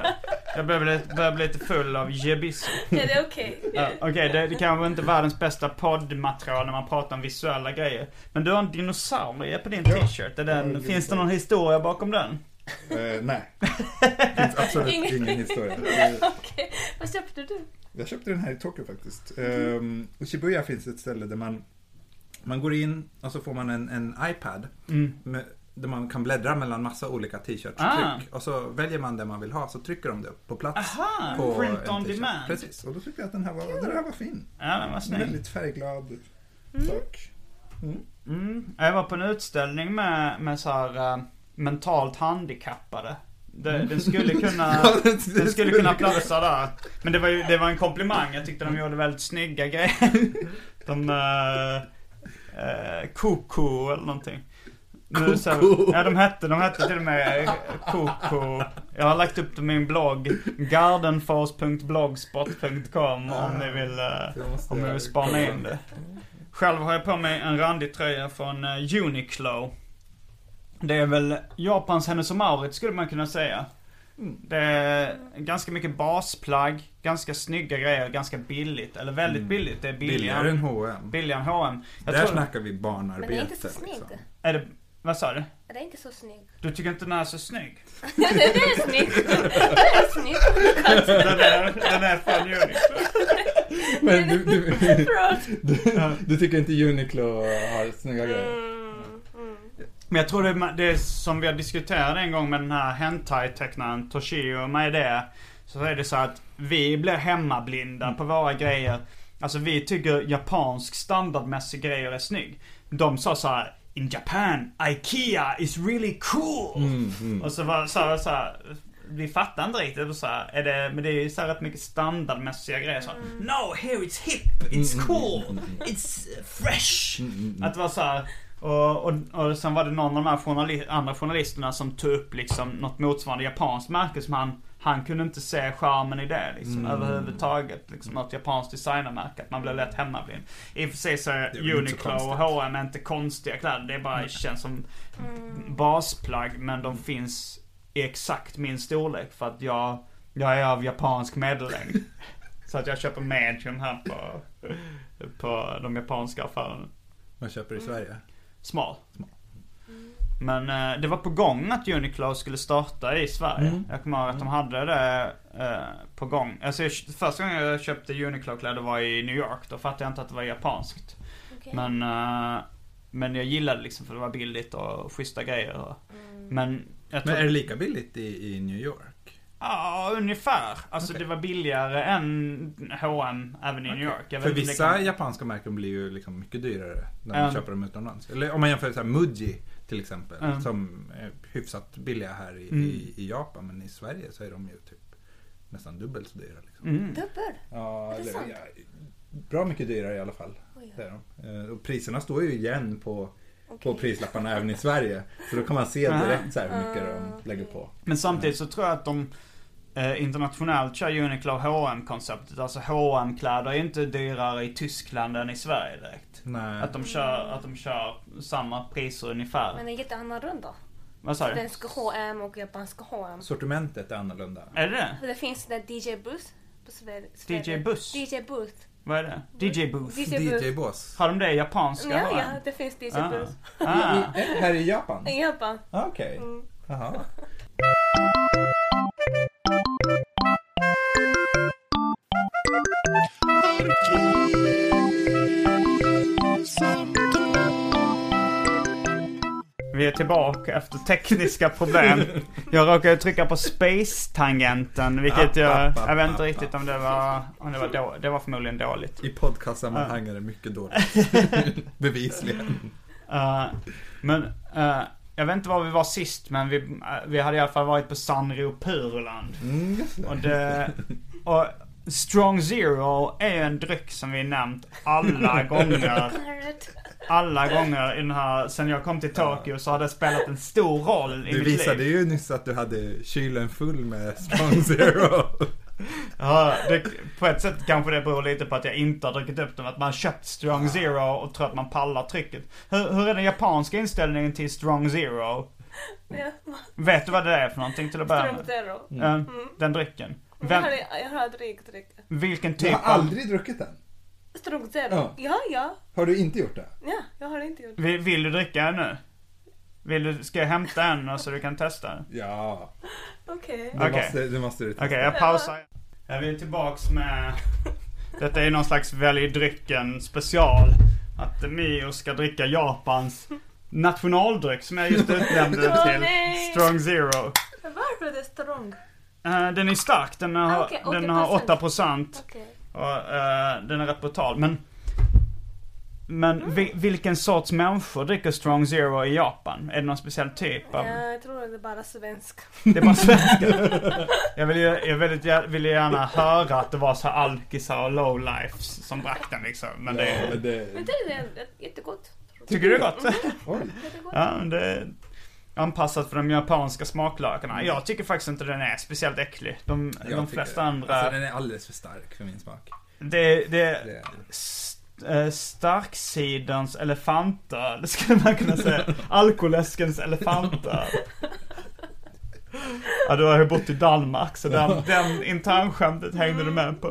Speaker 2: Jag börjar bli, börjar bli lite full av jebisso.
Speaker 4: Ja, det är okej.
Speaker 2: Ja, Okej, det, det kanske inte är världens bästa poddmaterial när man pratar om visuella grejer. Men du har en dinosaurie på din t-shirt. Är den,
Speaker 3: en
Speaker 2: finns det
Speaker 3: dinosaurie.
Speaker 2: någon historia bakom den?
Speaker 3: Eh, nej. Det finns absolut
Speaker 4: Ingen-
Speaker 3: ingen historia. Eh,
Speaker 4: Okej, vad köpte du?
Speaker 3: Jag köpte den här i Tokyo
Speaker 2: Mhm.
Speaker 3: faktiskt. Ehm, I Shibuya finns ett ställe där man, man går in och så får man en, en iPad.
Speaker 2: Mm.
Speaker 3: Med, där man kan bläddra mellan massa olika t-shirts och
Speaker 2: Ah.
Speaker 3: tryck. Och så väljer man det man vill ha så trycker de det på plats.
Speaker 2: Aha,
Speaker 3: på
Speaker 2: print
Speaker 3: en
Speaker 2: on
Speaker 3: t-shirt.
Speaker 2: demand.
Speaker 3: Precis, och då tyckte jag att den här var, den här var fin.
Speaker 2: Ja, den var snygg.
Speaker 3: Väldigt färgglad sak.
Speaker 2: Mm. Jag var på en utställning med, med så här, eh, mentalt handikappade. Det, den skulle kunna,
Speaker 3: Ja, det- det
Speaker 2: den skulle
Speaker 3: skulle
Speaker 2: kunna
Speaker 3: kunna.
Speaker 2: platsa där. Men det var ju, det var en komplimang. Jag tyckte de gjorde väldigt snygga grejer. De, eh, eh, Koko eller någonting. Nu så,
Speaker 3: Koko.
Speaker 2: ja de hette, de hette till och med Koko. Jag har lagt upp det i min blogg. Gardenfors.blogspot.com om ni vill, eh,
Speaker 3: måste
Speaker 2: om ni vill
Speaker 3: jag
Speaker 2: spana
Speaker 3: kolla.
Speaker 2: in det. Själv har jag på mig en randig tröja från eh, Uniqlo. Det är väl Japans Hennes och Mauritz skulle man kunna säga.
Speaker 3: Mm.
Speaker 2: Det är ganska mycket basplagg, ganska snygga grejer, ganska billigt. Eller väldigt billigt. Det är
Speaker 3: Mm. Billigare än
Speaker 2: billigare,
Speaker 3: H&M.
Speaker 2: billigare än H&M. Jag
Speaker 3: Där
Speaker 2: tror-
Speaker 3: snackar vi
Speaker 4: Men
Speaker 3: barnarbete.
Speaker 4: det är inte så snygg.
Speaker 3: liksom.
Speaker 2: Är det, vad sa du?
Speaker 4: Det är inte så snygg.
Speaker 2: Du tycker inte den är så snygg?
Speaker 4: Ja, det är snygg. Det är snygg.
Speaker 2: Den är, den är från Uniqlo.
Speaker 3: Men du, du,
Speaker 4: Förlåt.
Speaker 3: du, du tycker inte Uniqlo har snygga grejer?
Speaker 4: Mm, mm.
Speaker 2: Men jag tror det, är- det är som vi har diskuterat en gång med den här Hentai-tecknaren Toshio Maede. Så är det så att vi blir hemmablinda på våra grejer. Alltså vi tycker japansk standardmässig grejer är snygg. De sa så här In Japan, IKEA is really cool! Och så var så här, så här, vi fattar inte riktigt. och Så här, är det, men det är ju så här rätt mycket standardmässiga grejer. Så här, No, here it's hip, it's cool, it's eh, fresh. Att det var så här, och, och, och sen var det någon av de här journali andra journalisterna som tog upp liksom något motsvarande japanskt märke som han han kunde inte se charmen i det liksom,
Speaker 3: Mm.
Speaker 2: överhuvudtaget. Liksom, något japanskt designermärke. Att man blev lätt hemmablind. I och för sig så
Speaker 3: Det är
Speaker 2: är
Speaker 3: väl inte så
Speaker 2: Uniqlo och
Speaker 3: konstigt.
Speaker 2: H&M är inte konstiga kläder. Det är bara känns som basplagg. Men
Speaker 3: Mm.
Speaker 2: de finns i exakt min storlek. För att jag, jag är av japansk medellängd. så att jag köper medium här på, på de japanska affärerna.
Speaker 3: Man köper i Sverige.
Speaker 2: Smal. Men eh, det var på gång att Uniqlo skulle starta i Sverige.
Speaker 3: Mm.
Speaker 2: Jag kommer ihåg att de hade det eh, på gång. Alltså, jag, första gången jag köpte Uniqlo-kläder var i New York. Då fattade jag inte att det var japanskt.
Speaker 4: Okej.
Speaker 2: Men, eh, men jag gillade liksom för det var billigt och schyssta grejer. Och, Men jag
Speaker 3: Men
Speaker 2: tror-
Speaker 3: är det lika billigt i, i New York?
Speaker 2: Ja, ungefär. Alltså
Speaker 3: Okej.
Speaker 2: det var billigare än H&M även i New York. Jag
Speaker 3: För
Speaker 2: vet inte, det
Speaker 3: vissa
Speaker 2: kan-
Speaker 3: japanska märken blir ju liksom mycket dyrare när man
Speaker 2: Ja.
Speaker 3: köper dem utomlands. Eller om man jämför så här Muji till exempel,
Speaker 2: Ja.
Speaker 3: som är hyfsat billiga här i,
Speaker 2: Mm.
Speaker 3: i, i Japan, men i Sverige så är de ju typ nästan dubbelt så dyra. Liksom.
Speaker 2: Mm.
Speaker 4: Dubbel?
Speaker 3: Ja,
Speaker 4: Är det
Speaker 3: eller-
Speaker 4: sant?
Speaker 3: ja, bra mycket dyrare i alla fall.
Speaker 4: Oj,
Speaker 3: Det är de. Eh, Och priserna står ju igen på, på
Speaker 4: Okej.
Speaker 3: prislapparna även i Sverige. Så då kan man se direkt så här hur mycket
Speaker 4: Ah,
Speaker 3: de lägger på.
Speaker 2: Men samtidigt så tror jag att de eh, internationellt kör Uniqlo hm konceptet Alltså hm kläder är ju inte dyrare i Tyskland än i Sverige direkt.
Speaker 3: Nej.
Speaker 2: Att de kör, att de kör samma priser ungefär.
Speaker 4: Men den är jätteannorlunda.
Speaker 2: Vad sa du?
Speaker 4: Svenska H&M och japanska H&M.
Speaker 3: Sortimentet är annorlunda.
Speaker 2: Är det det
Speaker 4: För det finns det där DJ Booth på Sverige.
Speaker 2: DJ Buss?
Speaker 4: DJ Booth.
Speaker 2: Vad är det? DJ Booth?
Speaker 4: DJ Booth.
Speaker 3: DJ-bås.
Speaker 2: Har de det i japanska
Speaker 4: Ja,
Speaker 2: H&M?
Speaker 4: ja, det finns DJ
Speaker 2: Ah.
Speaker 4: Booth.
Speaker 2: Ah. Mm.
Speaker 3: Här i Japan?
Speaker 4: I Japan.
Speaker 3: Ah, Okej. Jaha.
Speaker 2: Vi är tillbaka efter tekniska problem. Jag råkade trycka på space-tangenten vilket jag... Jag vet inte riktigt om det var... Om det var då, Det var förmodligen dåligt.
Speaker 3: I podcastsammanhang är det mycket dåligt. Bevisligen.
Speaker 2: Eh, men eh, jag vet inte var vi var sist men vi, eh, vi hade i alla fall varit på Sanrio Puroland.
Speaker 3: Mm, just
Speaker 2: Och,
Speaker 3: det.
Speaker 2: det, och Strong Zero är ju en dryck som vi nämnt alla gånger.
Speaker 4: Alright.
Speaker 2: Alla gånger i den här, sen jag kom till Tokyo så har det spelat en stor roll i
Speaker 3: Du
Speaker 2: mitt
Speaker 3: visade
Speaker 2: liv.
Speaker 3: ju nyss att du hade kylen full med Strong Zero.
Speaker 2: Ja, det, på ett sätt kanske det beror lite på att jag inte har druckit upp dem. Att man har köpt Strong Zero och tror att man pallar trycket. Hur, hur är den japanska inställningen till Strong Zero?
Speaker 4: Ja,
Speaker 2: Vet du vad det är för någonting till att börja med?
Speaker 4: Strump Zero.
Speaker 2: Ja, Eh,
Speaker 3: Mm.
Speaker 2: Den drycken. Ah.
Speaker 4: Jag
Speaker 2: Vem,
Speaker 4: har, jag har aldrig druckit.
Speaker 2: vilken typ
Speaker 3: Du har aldrig druckit den?
Speaker 4: Strump Zero?
Speaker 3: Ja.
Speaker 4: Ja, ja.
Speaker 3: Har du inte gjort det?
Speaker 4: Ja, jag har inte gjort
Speaker 2: av... Vill, vill du dricka en nu? Vill du, ska jag hämta en och så du kan testa? den?
Speaker 3: Ja,
Speaker 4: det. Okej.
Speaker 3: det
Speaker 2: Okej.
Speaker 3: måste, det måste du
Speaker 2: Okej, jag pausar. Ja, vi är tillbaks med... Detta är någon slags välj drycken special. Att Mio ska dricka Japans nationaldryck som jag just utnämnde
Speaker 4: Åh,
Speaker 2: till
Speaker 4: nej.
Speaker 2: Strong Zero.
Speaker 4: Men Varför är det strong?
Speaker 2: Eh, den är stark, den har,
Speaker 4: Ah, Okej,
Speaker 2: den har
Speaker 4: 80%.
Speaker 2: 8%.
Speaker 4: Okej.
Speaker 2: Och, eh, den är rätt brutal. Men, men vi, vilken sorts människor dricker Strong Zero i Japan? Är det någon speciell typ av?
Speaker 4: Ja, jag tror att det är bara svensk.
Speaker 2: Det är bara svenskar. jag vill, ju, jag väldigt, gär- vill ju gärna höra att det var så här alkisar och lowlifes som drack den liksom. Men det,
Speaker 3: Ja, men
Speaker 4: Men
Speaker 3: det...
Speaker 4: det är det är jättegott.
Speaker 2: tycker du det är gott?
Speaker 3: Oj.
Speaker 4: Jättegott.
Speaker 2: ja, men det är anpassat för de japanska smaklakarna. Jag tycker faktiskt inte den är speciellt äcklig. De,
Speaker 3: Jag
Speaker 2: de
Speaker 3: tycker-
Speaker 2: flesta andra...
Speaker 3: Alltså den är alldeles för stark för min smak.
Speaker 2: det, det,
Speaker 3: Det är...
Speaker 2: St- eh, Starksidens elefantöl skulle man kunna säga. Alkoläskens elefantöl. Ja, du har ju bott i Danmark så den, den internskämtet hängde du med på.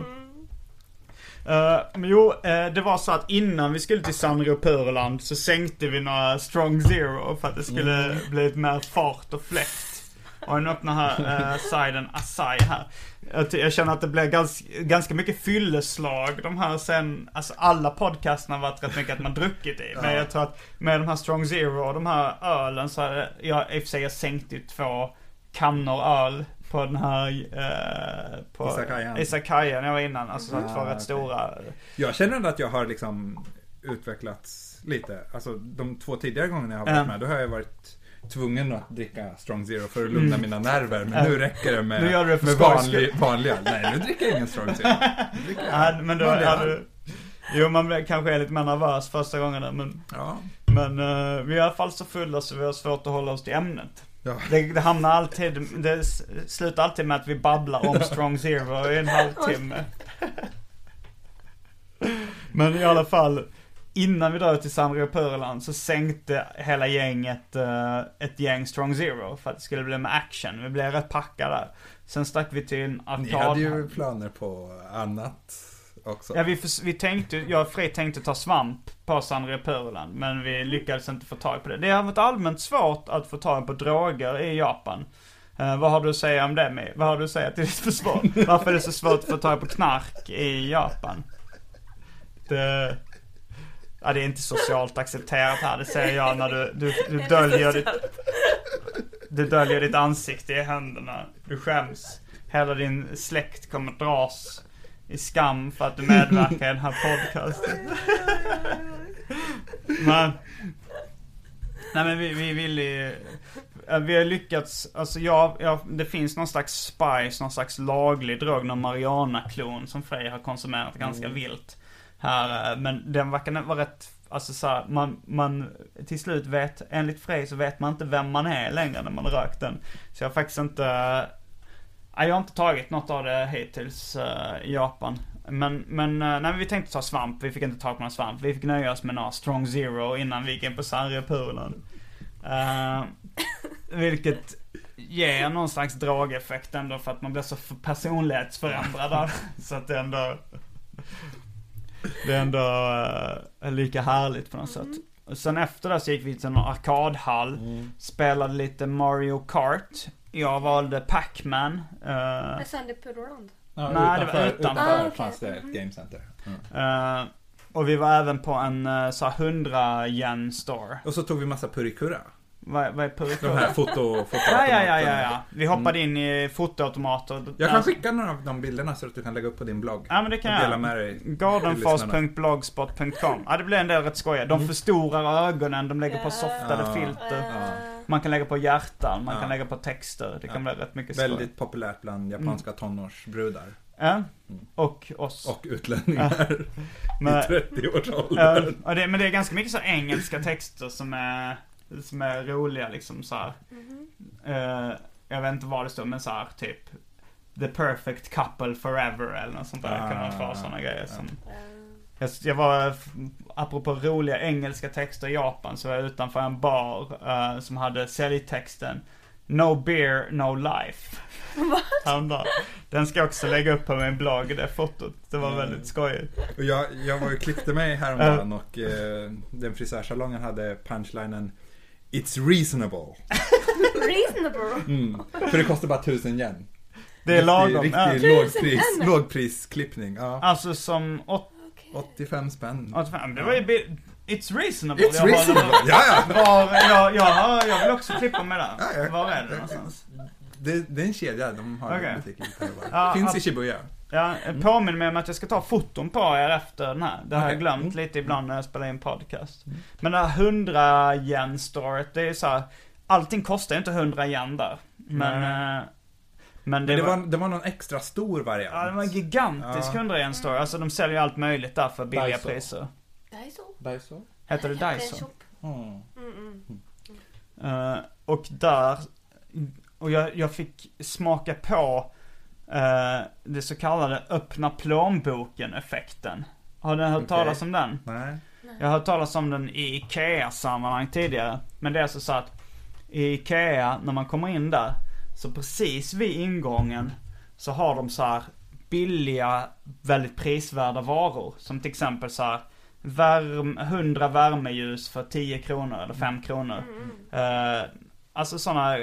Speaker 2: Eh, men jo, eh, det var så att innan vi skulle till Sanrio Puroland så sänkte vi några Strong Zero för att det skulle bli lite mer fart och fläkt. Och nu öppnar här eh, siden Asai här. Jag, ty- jag känner att det blir ganska, ganska mycket fylleslag de här sen, alltså alla podcasterna har varit rätt mycket att man druckit i. Men
Speaker 3: Ja.
Speaker 2: jag tror att med de här Strong Zero och de här ölen så hade jag, i och för sig jag sänkt ju två kannor öl på på den här... Eh, på
Speaker 3: Isakayan.
Speaker 2: Isakayan jag var innan. Alltså de två
Speaker 3: Ah,
Speaker 2: rätt
Speaker 3: okej.
Speaker 2: stora.
Speaker 3: Jag känner ändå att jag har liksom utvecklats lite. Alltså de två tidigare gångerna jag har varit
Speaker 2: Ja.
Speaker 3: med, då har jag varit tvungen att dricka Strong Zero för att lugna mina nerver. Men
Speaker 2: Mm. Ja.
Speaker 3: nu räcker det med,
Speaker 2: Nu gör du det för
Speaker 3: med
Speaker 2: skojs skull.
Speaker 3: vanlig, vanliga. Nej, nu dricker jag ingen Strong Zero. Nu dricker jag
Speaker 2: Ja, men då
Speaker 3: vanlig
Speaker 2: är
Speaker 3: öl.
Speaker 2: du... Jo man blir- kanske är lite mer nervös första gången där, men...
Speaker 3: Ja.
Speaker 2: Men eh, vi är i alla fall så fulla så vi har svårt att hålla oss till ämnet.
Speaker 3: Ja.
Speaker 2: Det, det hamnar alltid, det s- slutar alltid med att vi babblar om Strong Zero i en halvtimme. Men i alla fall, innan vi drar till Sandro Pureland så sänkte hela gänget eh, ett gäng Strong Zero för att det skulle bli med action. Vi blev rätt packade där. Sen stack vi till en arkad.
Speaker 3: Ni hade ju planer på annat också.
Speaker 2: Ja, vi, förs- vi tänkte, jag och Frej tänkte ta svamp på Sandra Pureland, men vi lyckades inte få tag på det. Det har varit allmänt svårt att få tag på droger i Japan. Eh, vad har du att säga om det med? Vad har du att säga till ditt försvar? Varför är det så svårt att få tag på knark i Japan? Det... Ja, det är inte socialt accepterat här, det säger jag när du, du, du döljer ditt... Du döljer ditt ansikte i händerna. Du skäms. Hela din släkt kommer dras i skam för att du medverkar i den här podcasten. men, nej men vi, vi vill ju, eh, vi har lyckats, alltså jag, jag, det finns någon slags spice, någon slags laglig drog, någon marijuana-klon som Frej har konsumerat ganska vilt. Här, eh, men den verkar vara rätt, alltså så här, man, man, till slut vet, enligt Frej så vet man inte vem man är längre när man har rökt den. Så jag har faktiskt inte, Nej, jag har inte tagit något av det hittills eh, i Japan. Men, men, eh, nej, men vi tänkte ta svamp. Vi fick inte tag på någon svamp. Vi fick nöja oss med några strong zero innan vi gick in på Sarjepulen. Uh, vilket ger någon slags drageffekt ändå för att man blir så f- personlighetsförändrad av det. Så att det ändå... Det är ändå eh, lika härligt på något sätt. Och sen efter det så gick vi till en arkadhall.
Speaker 3: Mm.
Speaker 2: Spelade lite Mario Kart. Jag valde Pac-Man. eh,
Speaker 4: Jag sände Puroland.
Speaker 3: Ja,
Speaker 2: Nej, det var utanför.
Speaker 4: Ah, okej.
Speaker 3: fanns det ett gamecenter. Mm.
Speaker 2: Eh, och vi var även på en uh, så här 100 yen store.
Speaker 3: Och så tog vi massa purikura.
Speaker 2: Vad vad är
Speaker 3: De
Speaker 2: Purico? Ja,
Speaker 3: här foto,
Speaker 2: ja,
Speaker 3: fotoautomaterna. Mm.
Speaker 2: ja, ja, ja. Vi hoppade in i fotoautomater.
Speaker 3: Jag kan skicka några av de bilderna så att du kan lägga upp på din blogg.
Speaker 2: Ja, men det kan
Speaker 3: och
Speaker 2: jag.
Speaker 3: dela med dig. till
Speaker 2: Gardenfast.blogspot.com. Ja, det blir en del rätt skojiga. De förstorar ögonen, de lägger på softade
Speaker 3: Mm. Ja.
Speaker 2: filter.
Speaker 3: lyssnarna.
Speaker 2: Man kan lägga på hjärtan, man
Speaker 3: Ja.
Speaker 2: kan lägga på texter. Det kan bli rätt mycket
Speaker 3: Ja,
Speaker 2: skoj.
Speaker 3: väldigt populärt bland japanska
Speaker 2: Mm.
Speaker 3: tonårsbrudar.
Speaker 2: Ja. Och oss.
Speaker 3: Och utlänningar
Speaker 2: Men-
Speaker 3: i 30-årsåldern.
Speaker 2: Ja, det, men det är ganska mycket så engelska texter som är, som är roliga liksom så här. Eh, jag vet inte vad det står men så här typ The perfect couple forever eller något sånt där.
Speaker 3: Ah,
Speaker 2: kan man få sådana grejer som.
Speaker 4: Eh,
Speaker 2: Jag, jag var, f- apropå roliga engelska texter i Japan, så var jag utanför en bar eh, som hade säljtexten No beer, no life. Häromdagen. Den ska jag också lägga upp på min blogg, det fotot. Det var
Speaker 3: Mm.
Speaker 2: väldigt skojigt.
Speaker 3: Och jag, jag var ju klippte mig häromdagen och eh, den frisörsalongen hade punchlinen It's reasonable.
Speaker 4: Reasonable.
Speaker 3: Mm. För det kostar bara 1000 yen.
Speaker 2: Det är lagom.
Speaker 3: Riktig,
Speaker 2: ja.
Speaker 3: riktig lågpris,
Speaker 4: yen?
Speaker 3: lågprisklippning. Ja.
Speaker 2: Alltså som åt-
Speaker 4: Okej.
Speaker 3: 85 spänn.
Speaker 2: 85, det var ju bi- It's reasonable.
Speaker 3: It's
Speaker 2: jag
Speaker 3: reasonable.
Speaker 2: Håller,
Speaker 3: Ja, ja.
Speaker 2: var, jag, jag, har- jag vill också klippa mig där.
Speaker 3: Ja, ja.
Speaker 2: Var är det någonstans?
Speaker 3: Det, det är en kedja, de har
Speaker 2: Okej.
Speaker 3: okay. butiker lite här och var.
Speaker 2: Ja,
Speaker 3: Finns
Speaker 2: ja.
Speaker 3: i Shibuya.
Speaker 2: Ja, påminn mig om att jag ska ta foton på er efter den här. Det har jag
Speaker 3: Okej.
Speaker 2: glömt
Speaker 3: Mm.
Speaker 2: lite ibland när jag spelar in podcast. Men det här 100 yen storet, det är ju så här, Allting kostar ju inte 100 yen där. Men, eh, men det,
Speaker 3: Men det
Speaker 2: var...
Speaker 3: var, det var någon extra stor variant.
Speaker 2: Ja, det var en gigantisk
Speaker 3: Ja.
Speaker 2: 100 yen store. Alltså de säljer ju allt möjligt där för billiga
Speaker 3: Daiso.
Speaker 2: priser.
Speaker 4: Det är så.
Speaker 3: Daiso?
Speaker 2: Heter det
Speaker 4: Jag hade en
Speaker 2: Daiso?
Speaker 4: shop.
Speaker 3: Mm.
Speaker 4: Mm, mm.
Speaker 2: Eh, och där, och jag, jag fick smaka på eh, det så kallade öppna plånboken effekten. Har ni hört
Speaker 3: Okej.
Speaker 2: talas om den?
Speaker 3: Nej.
Speaker 2: Jag har hört talas om den i IKEA-sammanhang tidigare. Men det är alltså så att i IKEA, när man kommer in där, så precis vid ingången så har de så här billiga, väldigt prisvärda varor. Som till exempel så här värm, 100 värmeljus för 10 kronor eller 5 kronor. Eh, alltså sådana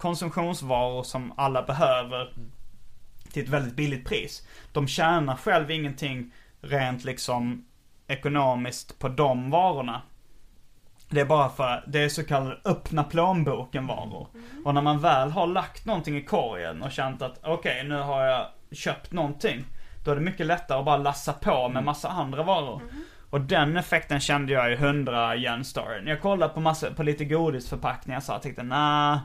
Speaker 2: konsumtionsvaror som alla behöver till ett väldigt billigt pris. De tjänar själv ingenting rent liksom ekonomiskt på de varorna. Det är bara för, det är så kallade öppna plånboken-varor. Och när man väl har lagt någonting i korgen och känt att okej, nu har jag köpt någonting. Då är det mycket lättare att bara lassa på med massa andra varor. Och den effekten kände jag i 100 yen Star. När jag kollade på, massa, på lite godisförpackningar så här, tänkte jag nah,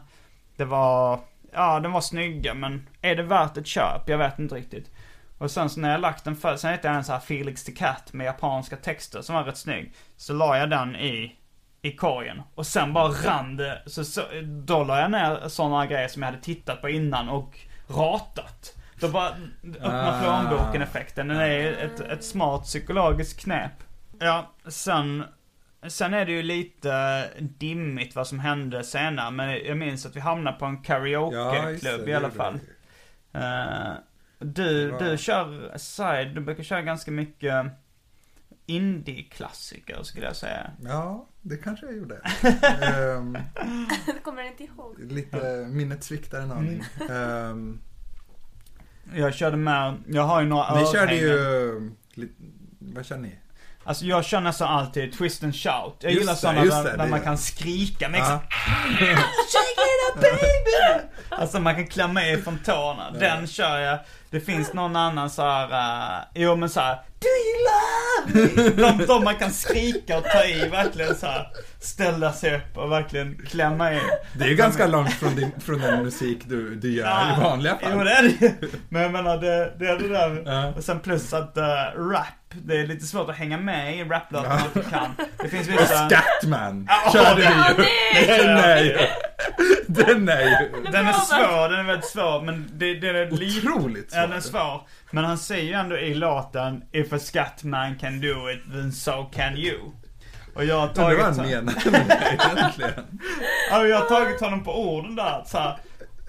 Speaker 2: det var, ja den var snygga men är det värt ett köp? Jag vet inte riktigt. Och sen så när jag lagt den för, sen hittade jag en så här Felix the Cat med japanska texter som var rätt snygg. Så la jag den i, i korgen. Och sen bara rann det, så, så då la jag ner sådana grejer som jag hade tittat på innan och ratat. Då bara öppnar
Speaker 3: Ah.
Speaker 2: plånboken effekten. Den är ett, ett smart psykologiskt knep. Ja, sen Sen är det ju lite dimmigt vad som hände senare, men jag minns att vi hamnade på en
Speaker 3: just
Speaker 2: karaokeklubb
Speaker 3: det,
Speaker 2: i alla
Speaker 3: det gjorde
Speaker 2: fall.
Speaker 3: vi.
Speaker 2: Eh, du,
Speaker 3: Bra.
Speaker 2: du kör side, du brukar köra ganska mycket indie-klassiker skulle jag säga.
Speaker 3: Ja, det kanske jag gjorde. Ehm,
Speaker 4: Det kommer jag inte ihåg.
Speaker 3: lite minnet sviktar en aning.
Speaker 2: Mm.
Speaker 3: Ehm,
Speaker 2: Jag körde med, jag har ju några
Speaker 3: ni körde
Speaker 2: örhängen.
Speaker 3: ju... li- Vad kör ni?
Speaker 2: Alltså jag kör nästan alltid twist and shout. Jag
Speaker 3: Just
Speaker 2: gillar
Speaker 3: det,
Speaker 2: sådana
Speaker 3: just
Speaker 2: där,
Speaker 3: det,
Speaker 2: där
Speaker 3: det
Speaker 2: man
Speaker 3: gör
Speaker 2: kan skrika med
Speaker 3: Ja.
Speaker 2: Alltså man kan klämma i från tårna. Den kör jag. Det finns någon annan så här. eh, jo men så här. Do you love me? De, de man kan skrika och ta i verkligen så här. Ställa sig upp och verkligen klämma i.
Speaker 3: Det är ju ganska långt från, din, från den musik du, du gör i vanliga fall.
Speaker 2: Jo det är det ju. Men jag menar det, det är det där.
Speaker 3: Ja.
Speaker 2: Och sen plus att eh, rap. Det är lite svårt att hänga med i raplåtar man inte kan. Det finns vissa.
Speaker 3: Scatman
Speaker 2: Ja,
Speaker 3: körde
Speaker 2: den-
Speaker 3: vi ju. Den är ju... Den är ju
Speaker 2: Den är svår, den är väldigt svår men det, det är lite
Speaker 3: otroligt
Speaker 2: Ja, den är
Speaker 3: svår.
Speaker 2: svår. Men han säger ju ändå i låten If a scatman can do it, then so can you. Och jag har
Speaker 3: Undrar
Speaker 2: tagit,
Speaker 3: vad han menar med det egentligen.
Speaker 2: Ja, men Alltså, jag har tagit honom på orden där. Så här,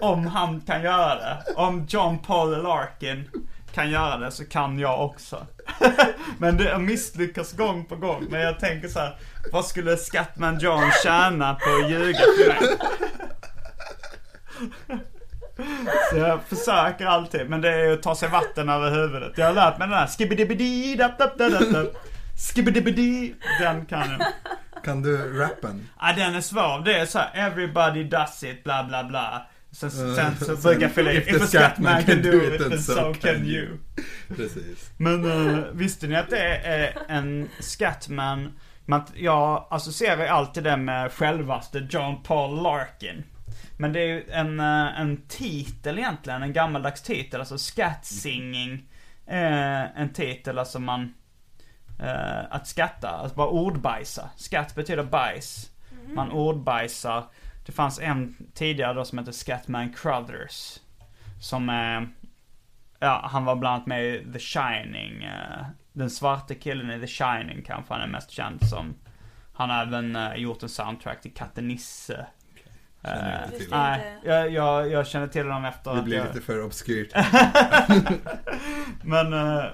Speaker 2: om han kan göra det. Om John Paul Larkin kan göra det så kan jag också. men det misslyckas gång på gång. Men jag tänker så här, vad skulle Scatman John tjäna på att ljuga för mig? Så jag försöker alltid, men det är ju att ta sig vatten över huvudet. Jag har lärt mig den här skibidibidi dap dap dap dap dap. Skibidibidi. Den kan jag.
Speaker 3: Kan du rappen?
Speaker 2: Ja Ah, den är svår, det är så här, everybody does it, bla bla bla. Sen, sen så brukar jag fylla i, if a scatman can do it, then so can you.
Speaker 3: Precis.
Speaker 2: Men eh, visste ni att det är eh, en Scatman? Man, jag associerar ju alltid det med självaste John Paul Larkin. Men det är ju en, eh, en titel egentligen, en gammaldags titel, alltså scat singing. Eh, en titel alltså man, eh, att skatta, alltså bara ordbajsa. Skatt betyder bajs. Man ordbajsar. Det fanns en tidigare då som hette Scatman Crothers. Som är Ja, han var bland annat med i The Shining. eh, Den svarte killen i The Shining kanske han är mest känd som. Han har även eh, gjort en soundtrack till Katten Nisse.
Speaker 3: Känner jag inte
Speaker 4: Just
Speaker 3: till.
Speaker 4: det.
Speaker 2: Nej, jag, jag, jag känner till honom efter
Speaker 3: Det
Speaker 2: att
Speaker 3: Äh, blir
Speaker 2: jag...
Speaker 3: lite för obskyrt.
Speaker 2: Men eh,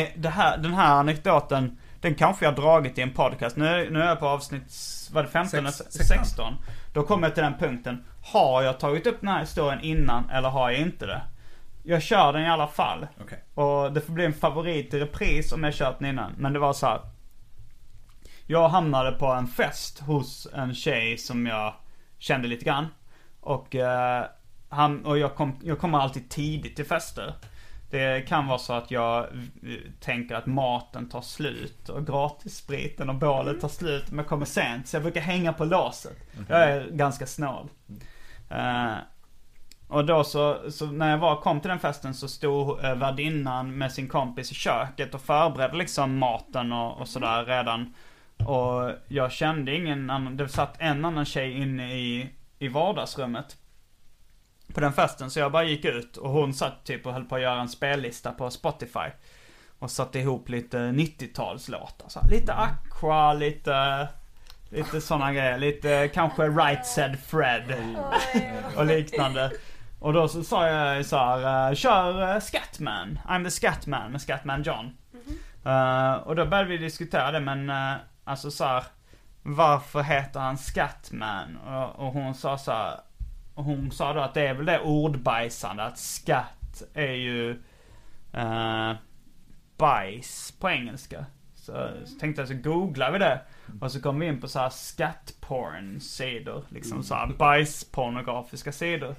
Speaker 2: eh, det här, den här anekdoten, den kanske jag har dragit i en podcast. Nu, nu är jag på avsnitt, vad är det 15?
Speaker 3: Sex-
Speaker 2: 16. Då kommer jag till den punkten. Har jag tagit upp den här historien innan eller har jag inte det? Jag kör den i alla fall.
Speaker 3: Okej.
Speaker 2: Och det får bli en favorit i repris om jag kört den innan. Men det var så här. Jag hamnade på en fest hos en tjej som jag kände lite grann. Och, eh, han, och jag, kom, jag kommer alltid tidigt till fester. Det kan vara så att jag eh, tänker att maten tar slut och gratisspriten och bålet tar slut men jag kommer sent. Så jag brukar hänga på låset. Jag är ganska snål. Eh, och då så, så när jag var, kom till den festen så stod eh, värdinnan med sin kompis i köket och förberedde liksom maten och, och sådär redan. Och jag kände ingen annan, det satt en annan tjej inne i, i vardagsrummet. På den festen, så jag bara gick ut och hon satt typ och höll på att göra en spellista på Spotify. Och satte ihop lite 90-talslåtar så här. Lite Aqua, lite, lite sådana grejer. Lite kanske Right Said Fred och liknande. Och då så sa jag så här, eh, kör eh, Scatman, I'm the Scatman med Scatman John. Eh, och då började vi diskutera det men eh, alltså så här, varför heter han Scatman? Och, och hon sa så här, och hon sa då att det är väl det ordbajsande att skatt är ju eh, bajs på engelska. Så, så tänkte jag så googlar vi det. Och så kom vi in på så här skattporn-sidor. Liksom så här bajspornografiska sidor.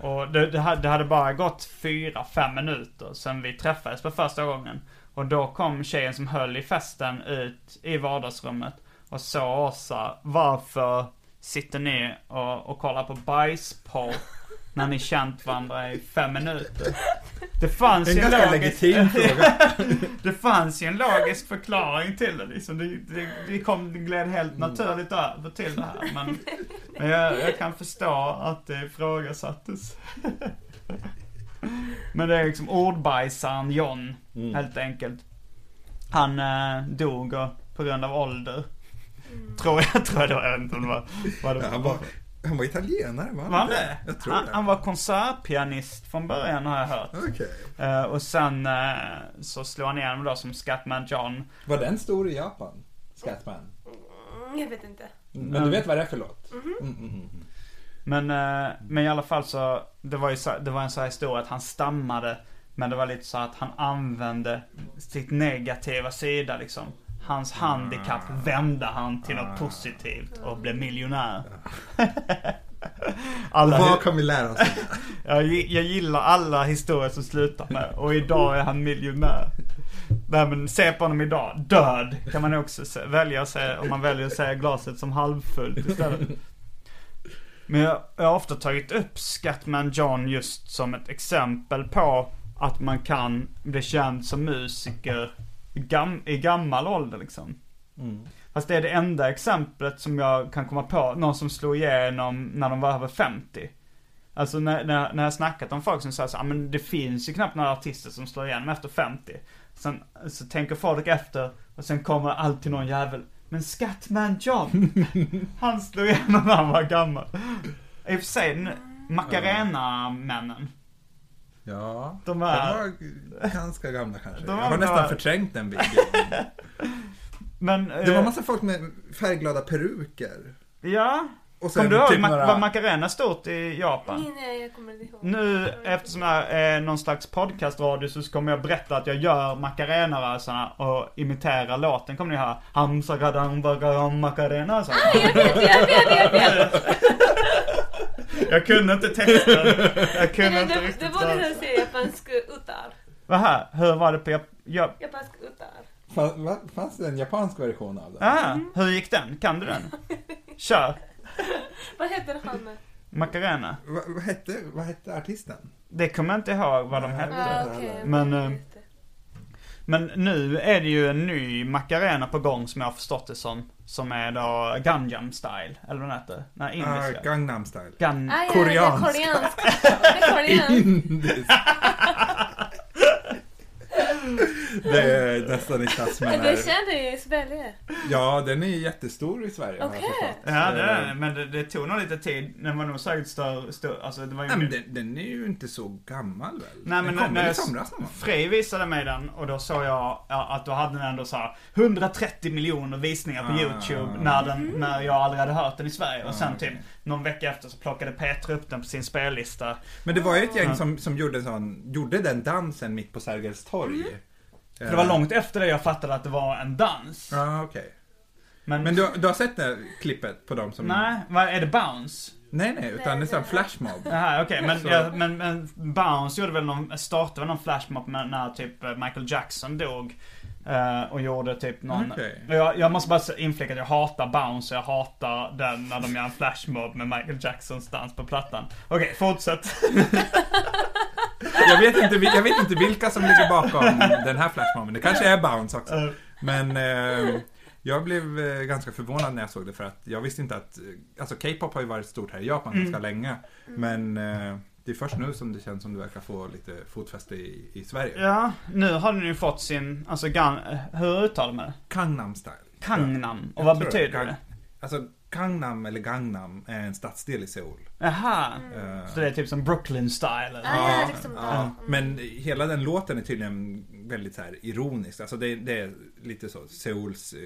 Speaker 2: Och det, det, hade- det hade bara gått fyra fem minuter sen vi träffades för första gången. Och då kom tjejen som höll i festen ut i vardagsrummet och sa Åsa, varför sitter ni och, och kollar på bajsporr när ni känt varandra i fem minuter? Det fanns
Speaker 3: En
Speaker 2: ju
Speaker 3: ganska
Speaker 2: logisk-
Speaker 3: legitim fråga.
Speaker 2: det fanns ju en logisk förklaring till det liksom. Det, det, det, kom, det gled helt
Speaker 3: Mm.
Speaker 2: naturligt över till det här. Men, men jag, jag kan förstå att det ifrågasattes. Men det är liksom ordbajsaren John,
Speaker 3: Mm.
Speaker 2: helt enkelt. Han eh, dog och, på grund av ålder. Tror jag, tror jag det var. Jag vet inte om det var, vad det
Speaker 3: Ja, han, var, han var italienare, va?
Speaker 2: Var han det?
Speaker 3: Jag tror
Speaker 2: han,
Speaker 3: det.
Speaker 2: han var konsertpianist från början har jag hört.
Speaker 3: Okej.
Speaker 2: Eh, och sen eh, så slog han igenom då som Scatman John.
Speaker 3: Var den stor i Japan? Scatman?
Speaker 4: Mm, jag vet inte.
Speaker 3: Men du vet vad det är för låt? Mm, mm, mm.
Speaker 2: Men, eh, men i alla fall så, det var ju så, det var en sån här historia att han stammade. Men det var lite så att han använde sitt negativa sida liksom. Hans handikapp vände han till något positivt och blev miljonär. Alla,
Speaker 3: Vad kan vi lära oss? av det?
Speaker 2: jag, gi- jag gillar alla historier som slutar med och idag är han miljonär. Nej men se på honom idag, död kan man också se, välja att säga om man väljer att säga glaset som halvfullt istället. Men jag, jag har ofta tagit upp Scatman John just som ett exempel på att man kan bli känd som musiker i gam, i gammal ålder liksom. Fast det är det enda exemplet som jag kan komma på, någon som slog igenom när de var över 50. Alltså när, när, när jag snackat om folk som säger så, "Ah, men det finns ju knappt några artister som slår igenom efter 50. Sen så tänker folk efter och sen kommer alltid någon jävel. Men Scatman John, han slog igenom när han var gammal. I och för sig, nu- Macarena-männen.
Speaker 3: Ja,
Speaker 2: De
Speaker 3: de
Speaker 2: här-
Speaker 3: var ganska gamla kanske.
Speaker 2: De var
Speaker 3: jag har
Speaker 2: bra.
Speaker 3: nästan förträngt den bilden.
Speaker 2: Men...
Speaker 3: Det var
Speaker 2: eh,
Speaker 3: massa folk med färgglada peruker.
Speaker 2: Ja.
Speaker 3: Och sen
Speaker 2: Kommer du ihåg
Speaker 3: typ
Speaker 2: ma-
Speaker 3: några-
Speaker 2: var Macarena stort i Japan?
Speaker 4: Nej, nej, jag kommer inte ihåg.
Speaker 2: Nu eftersom jag är någon slags podcastradio så kommer jag berätta att jag gör Macarena-rörelserna och imiterar låten. Kommer ni höra? Hamsa gadam bagaram Macarena. Så.
Speaker 4: Jag vet, jag vet, jag vet!
Speaker 2: Jag kunde inte texten. Jag
Speaker 4: Det,
Speaker 2: kunde inte
Speaker 4: det, det
Speaker 2: riktigt
Speaker 4: borde
Speaker 2: rörelsen.
Speaker 4: du säga, japansk utar.
Speaker 2: Vad här? Hur var det på jap- jap-
Speaker 4: Japansk utar.
Speaker 3: Fan- va- Fanns det en japansk version av det?
Speaker 2: ah,
Speaker 4: Mm.
Speaker 2: Hur gick den? Kan du den? Kör.
Speaker 4: Vad heter han?
Speaker 2: Macarena.
Speaker 3: Va- Vad hette, vad hette artisten?
Speaker 2: Det kommer jag inte ihåg vad de hette.
Speaker 4: Ah, okej.
Speaker 2: Men, eh,
Speaker 4: Just det.
Speaker 2: Men nu är det ju en ny Macarena på gång som jag har förstått det som. Som är då Gangnam style. Eller vad den heter. Nej,
Speaker 3: Ah,
Speaker 2: indiska.
Speaker 3: Gangnam style.
Speaker 2: Gan-
Speaker 4: Ah, ja,
Speaker 3: koreansk.
Speaker 4: Det är koreansk. Det är koreansk.
Speaker 3: Indisk. Det är nästan i klass med
Speaker 4: Men Det
Speaker 3: när...
Speaker 4: känner jag i Sverige.
Speaker 3: Ja, den är ju jättestor i Sverige har jag
Speaker 4: Okej.
Speaker 3: förstått.
Speaker 2: Ja det är det,
Speaker 3: Eh,
Speaker 2: men det, det tog nog lite tid. Den var nog säkert större, större alltså det var ju...
Speaker 3: Nej, men den, den är ju inte så gammal väl?
Speaker 2: Nej, men
Speaker 3: den
Speaker 2: när
Speaker 3: kom väl i
Speaker 2: jag-
Speaker 3: somras någon gång?
Speaker 2: Frej visade mig den och då såg jag ja, att då hade den ändå så här 130 miljoner visningar på
Speaker 3: Ah.
Speaker 2: YouTube när, den, när jag aldrig hade hört den i Sverige. Och sen
Speaker 3: okej.
Speaker 2: typ någon vecka efter så plockade Petra upp den på sin spellista.
Speaker 3: Men det var ju ett gäng som, som gjorde, en sån, gjorde den dansen mitt på Sergels torg.
Speaker 2: För det var långt efter det jag fattade att det var en dans.
Speaker 3: Eh. Ja, ah, okej.
Speaker 2: Men,
Speaker 3: Men du, du har sett det här klippet på dem som...
Speaker 2: nej, vad är det Bounce?
Speaker 3: Nej, nej, utan det är sån flashmob.
Speaker 2: Jaha, okej.
Speaker 3: Så-
Speaker 2: men, ja, men, men Bounce gjorde väl någon, startade väl någon flashmob med- när typ eh, Michael Jackson dog. eh, och gjorde typ någon...
Speaker 3: Okej.
Speaker 2: Och Jag, jag måste bara så- inflika att jag hatar Bounce och jag hatar den när de gör en flashmob med Michael Jacksons dans på plattan. Okej, fortsätt.
Speaker 3: Jag vet, inte, vi- jag vet inte vilka som ligger bakom den här flashmoben. Det kanske är Bounce också. Men eh, jag blev eh, ganska förvånad när jag såg det för att jag visste inte att... eh, Alltså K-pop har ju varit stort här i Japan
Speaker 2: Mm.
Speaker 3: ganska länge. Men eh, det är först nu som det känns som det verkar få lite fotfäste i, i Sverige.
Speaker 2: Ja, nu har den ju fått sin, alltså, gan, eh, hur uttalar man det?
Speaker 3: Gangnam style.
Speaker 2: Kangnam. Och
Speaker 3: Jag
Speaker 2: vad
Speaker 3: tror
Speaker 2: betyder
Speaker 3: Gang-
Speaker 2: det?
Speaker 3: Alltså Gangnam eller Gangnam är en stadsdel i Seoul.
Speaker 2: Jaha.
Speaker 3: Eh,
Speaker 2: Så det är typ som Brooklyn style eller?
Speaker 4: Ah, ja, liksom där.
Speaker 3: Ja, men hela den låten är tydligen väldigt så här ironisk. Alltså det, det är lite så Seouls eh,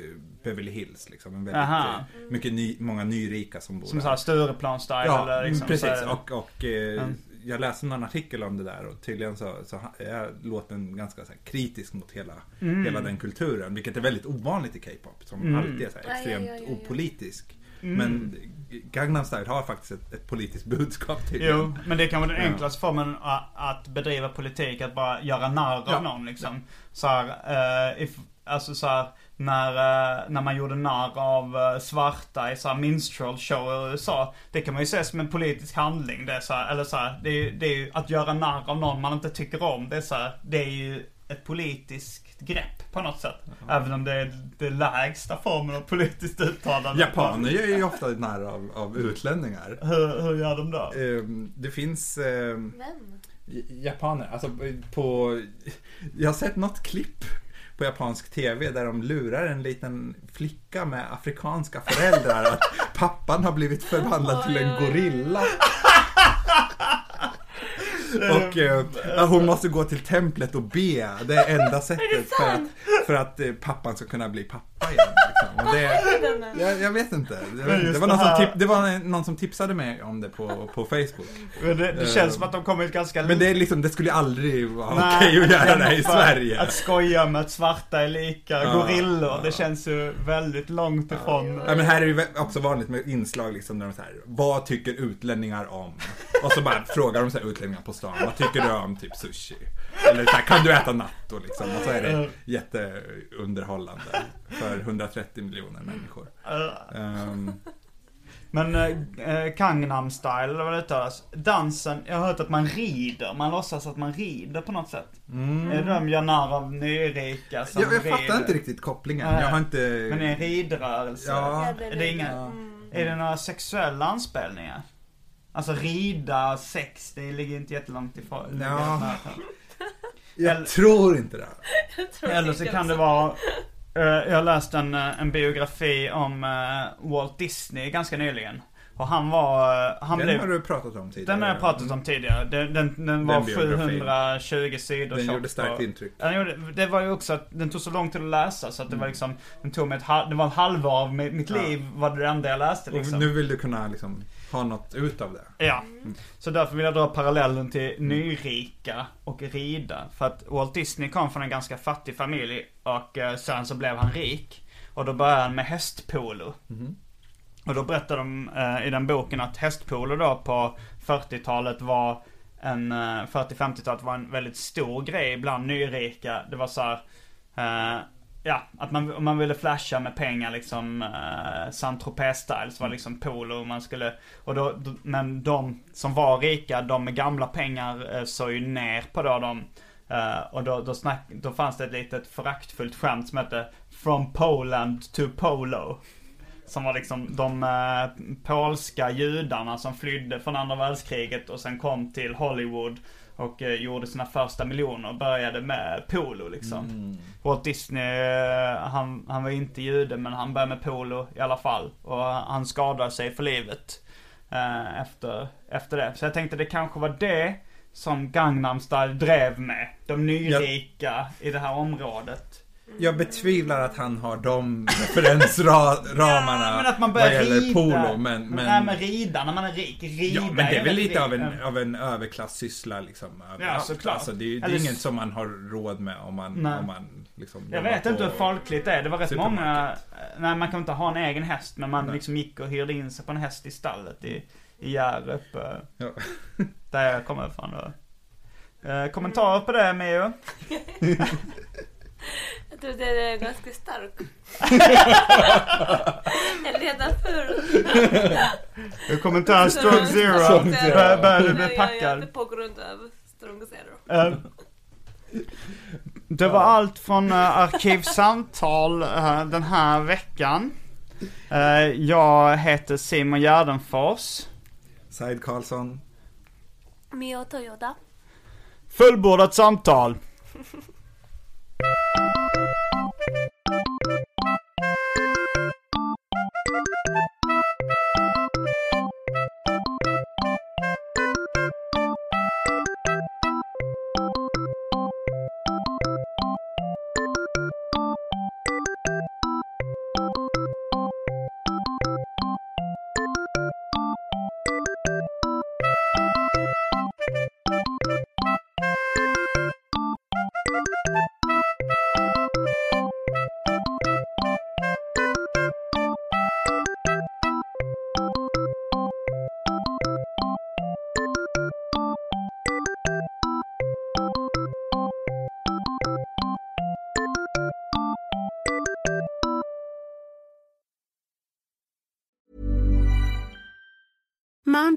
Speaker 3: Beverly Hills liksom. En väldigt,
Speaker 2: Aha.
Speaker 3: eh, mycket ny, många nyrika som bor
Speaker 2: Som
Speaker 3: där.
Speaker 2: såhär Stureplan style
Speaker 3: ja, mm,
Speaker 2: eller liksom
Speaker 3: precis.
Speaker 2: så här-
Speaker 3: Och, och eh, jag läste någon artikel om det där och tydligen så, så ha- är låten ganska så här, kritisk mot hela,
Speaker 2: Mm.
Speaker 3: hela den kulturen. Vilket är väldigt ovanligt i K-pop som alltid är så här,
Speaker 4: Aj,
Speaker 3: extremt
Speaker 4: aj, aj, aj, aj.
Speaker 3: opolitisk.
Speaker 2: Mm.
Speaker 3: Men Gangnam Style har faktiskt ett, ett politiskt budskap tydligen.
Speaker 2: Jo, men det kan vara den
Speaker 3: Ja.
Speaker 2: enklaste formen a- att bedriva politik, att bara göra narr av
Speaker 3: Ja.
Speaker 2: någon liksom. Så här, eh, if, alltså så här, när, eh, när man gjorde narr av eh, svarta i så här minstrel show i USA. Det kan man ju se som en politisk handling. Det är så här, eller så här, det är, ju- det är ju att göra narr av någon man inte tycker om. Det är, så här, det är ju ett politiskt grepp på något sätt. Även om det är den lägsta formen av politiskt uttalande.
Speaker 3: Japaner gör ju ofta nära av, av utlänningar.
Speaker 2: Hur, hur gör de då?
Speaker 3: Ehm, Det finns ehm,
Speaker 4: Vem?
Speaker 3: j- japaner, alltså på... Jag har sett något klipp på japansk TV där de lurar en liten flicka med afrikanska föräldrar att pappan har blivit förvandlad till en gorilla. Och eh, att hon måste gå till templet och be. Det är enda sättet för att, för att eh, pappan ska kunna bli pappa igen. Liksom. Och det, jag, jag vet inte. Jag vet inte. Det,
Speaker 2: just
Speaker 3: var någon
Speaker 2: det
Speaker 3: som
Speaker 2: här-
Speaker 3: tip, det var någon som tipsade mig om det på, på Facebook.
Speaker 2: Men det, det
Speaker 3: Eh,
Speaker 2: känns som att de kommit ganska
Speaker 3: Men det, är liksom, det skulle aldrig vara
Speaker 2: Nej,
Speaker 3: okej att göra det i
Speaker 2: för
Speaker 3: Sverige.
Speaker 2: Att skoja med att svarta är lika
Speaker 3: Ja,
Speaker 2: gorillor,
Speaker 3: ja.
Speaker 2: det känns ju väldigt långt ifrån.
Speaker 3: Ja, men här är det ju vä- också vanligt med inslag liksom där de så här, vad tycker utlänningar om? Och så bara frågar de så här utlänningar på stan, vad tycker du om typ sushi? Eller så här, kan du äta natto liksom? Och så är det jätteunderhållande för 130 miljoner människor. Ehm,
Speaker 2: Men eh, eh, Gangnam style, eller vad det uttalas. Dansen, jag har hört att man rider, man låtsas att man rider på något sätt. Är det de gör narr av nyrika som
Speaker 3: Mm. jag, jag
Speaker 2: rider?
Speaker 3: fattar inte riktigt kopplingen.
Speaker 2: Nej.
Speaker 3: Jag har
Speaker 2: Men det är en
Speaker 3: inte...
Speaker 2: ridrörelse?
Speaker 3: Ja.
Speaker 2: Är det, inga, är det några sexuella anspelningar? Alltså rida, sex, det ligger inte jättelångt ifrån.
Speaker 3: Ja.
Speaker 2: Eller-
Speaker 3: Jag tror inte det.
Speaker 2: Eller
Speaker 4: typ
Speaker 2: så kan det vara eh, Jag har läst en, eh, en biografi om eh, Walt Disney ganska nyligen. Och han var... eh, han
Speaker 3: Den
Speaker 2: blev,
Speaker 3: har du pratat om tidigare.
Speaker 2: den har jag pratat om tidigare. Den, den, den var
Speaker 3: Den biografin.
Speaker 2: 720 sidor
Speaker 3: Den
Speaker 2: tjock
Speaker 3: gjorde starkt
Speaker 2: och-
Speaker 3: intryck.
Speaker 2: Ja, Den gjorde, det var ju också att den tog så lång tid att läsa så att det var liksom, den tog mig ett halv, det var ett halvår av mi- mitt
Speaker 3: Mm. Ja.
Speaker 2: liv var det enda jag läste liksom.
Speaker 3: Och nu vill du kunna liksom ha något utav det.
Speaker 2: Ja, så därför vill jag dra parallellen till nyrika och rida. För att Walt Disney kom från en ganska fattig familj och eh, sen så blev han rik. Och då började han med hästpolo. Och då berättar de eh, i den boken att hästpolo då på 40-talet var en, eh, 40-50-talet var en väldigt stor grej bland nyrika. Det var så här, eh, ja, att man, om man ville flasha med pengar liksom, eh, Saint Tropez-styles var liksom polo man skulle, och då, då, men de som var rika, de med gamla pengar eh, såg ju ner på då de eh, och då, då, snack, då fanns det ett litet föraktfullt skämt som hette From Poland to Polo. Som var liksom de eh, polska judarna som flydde från andra världskriget och sen kom till Hollywood och eh, gjorde sina första miljoner och började med polo liksom. Walt Disney, eh, han, han var inte jude men han började med polo i alla fall. Och han skadade sig för livet eh, efter, efter det. Så jag tänkte det kanske var det som Gangnam Style drev med. De nyrika i det här området.
Speaker 3: Jag betvivlar att han har de referensramarna
Speaker 2: Men att man
Speaker 3: vad
Speaker 2: börjar
Speaker 3: gäller
Speaker 2: rida.
Speaker 3: polo. Men,
Speaker 2: Nej
Speaker 3: men,
Speaker 2: men rida när man är rik. Rida
Speaker 3: ja, men det är väl
Speaker 2: väldigt
Speaker 3: lite av
Speaker 2: rik.
Speaker 3: en, av en överklassyssla liksom. överallt.
Speaker 2: såklart.
Speaker 3: Alltså, det, är ju- det
Speaker 2: Eller
Speaker 3: är
Speaker 2: s-
Speaker 3: inget som man har råd med om man...
Speaker 2: Nej.
Speaker 3: Om man liksom,
Speaker 2: Jag
Speaker 3: jobbar
Speaker 2: vet
Speaker 3: på-
Speaker 2: inte hur folkligt det är. Det var rätt
Speaker 3: Supermarket.
Speaker 2: många... Nej, man kan inte ha en egen häst, men man
Speaker 3: Nej.
Speaker 2: liksom gick och hyrde in sig på en häst i stallet i, i Hjärup. eh,
Speaker 3: Ja.
Speaker 2: Där jag kommer ifrån då. Eh, kommentarer på det, Mio?
Speaker 4: Jag tror det är ganska stark. Eller redan förr.
Speaker 2: Eh, Kommentar strong zero.
Speaker 3: Strong zero.
Speaker 2: Bör- Börjar du bli
Speaker 4: Jag- Jag är
Speaker 2: packad?
Speaker 4: på grund av strong zero.
Speaker 2: Eh, Det var allt från eh, Arkivsamtal eh, den här veckan. Eh, Jag heter Simon Gärdenfors.
Speaker 3: Said Karlsson.
Speaker 4: Mio Toyota.
Speaker 2: Fullbordat samtal.
Speaker 5: Mom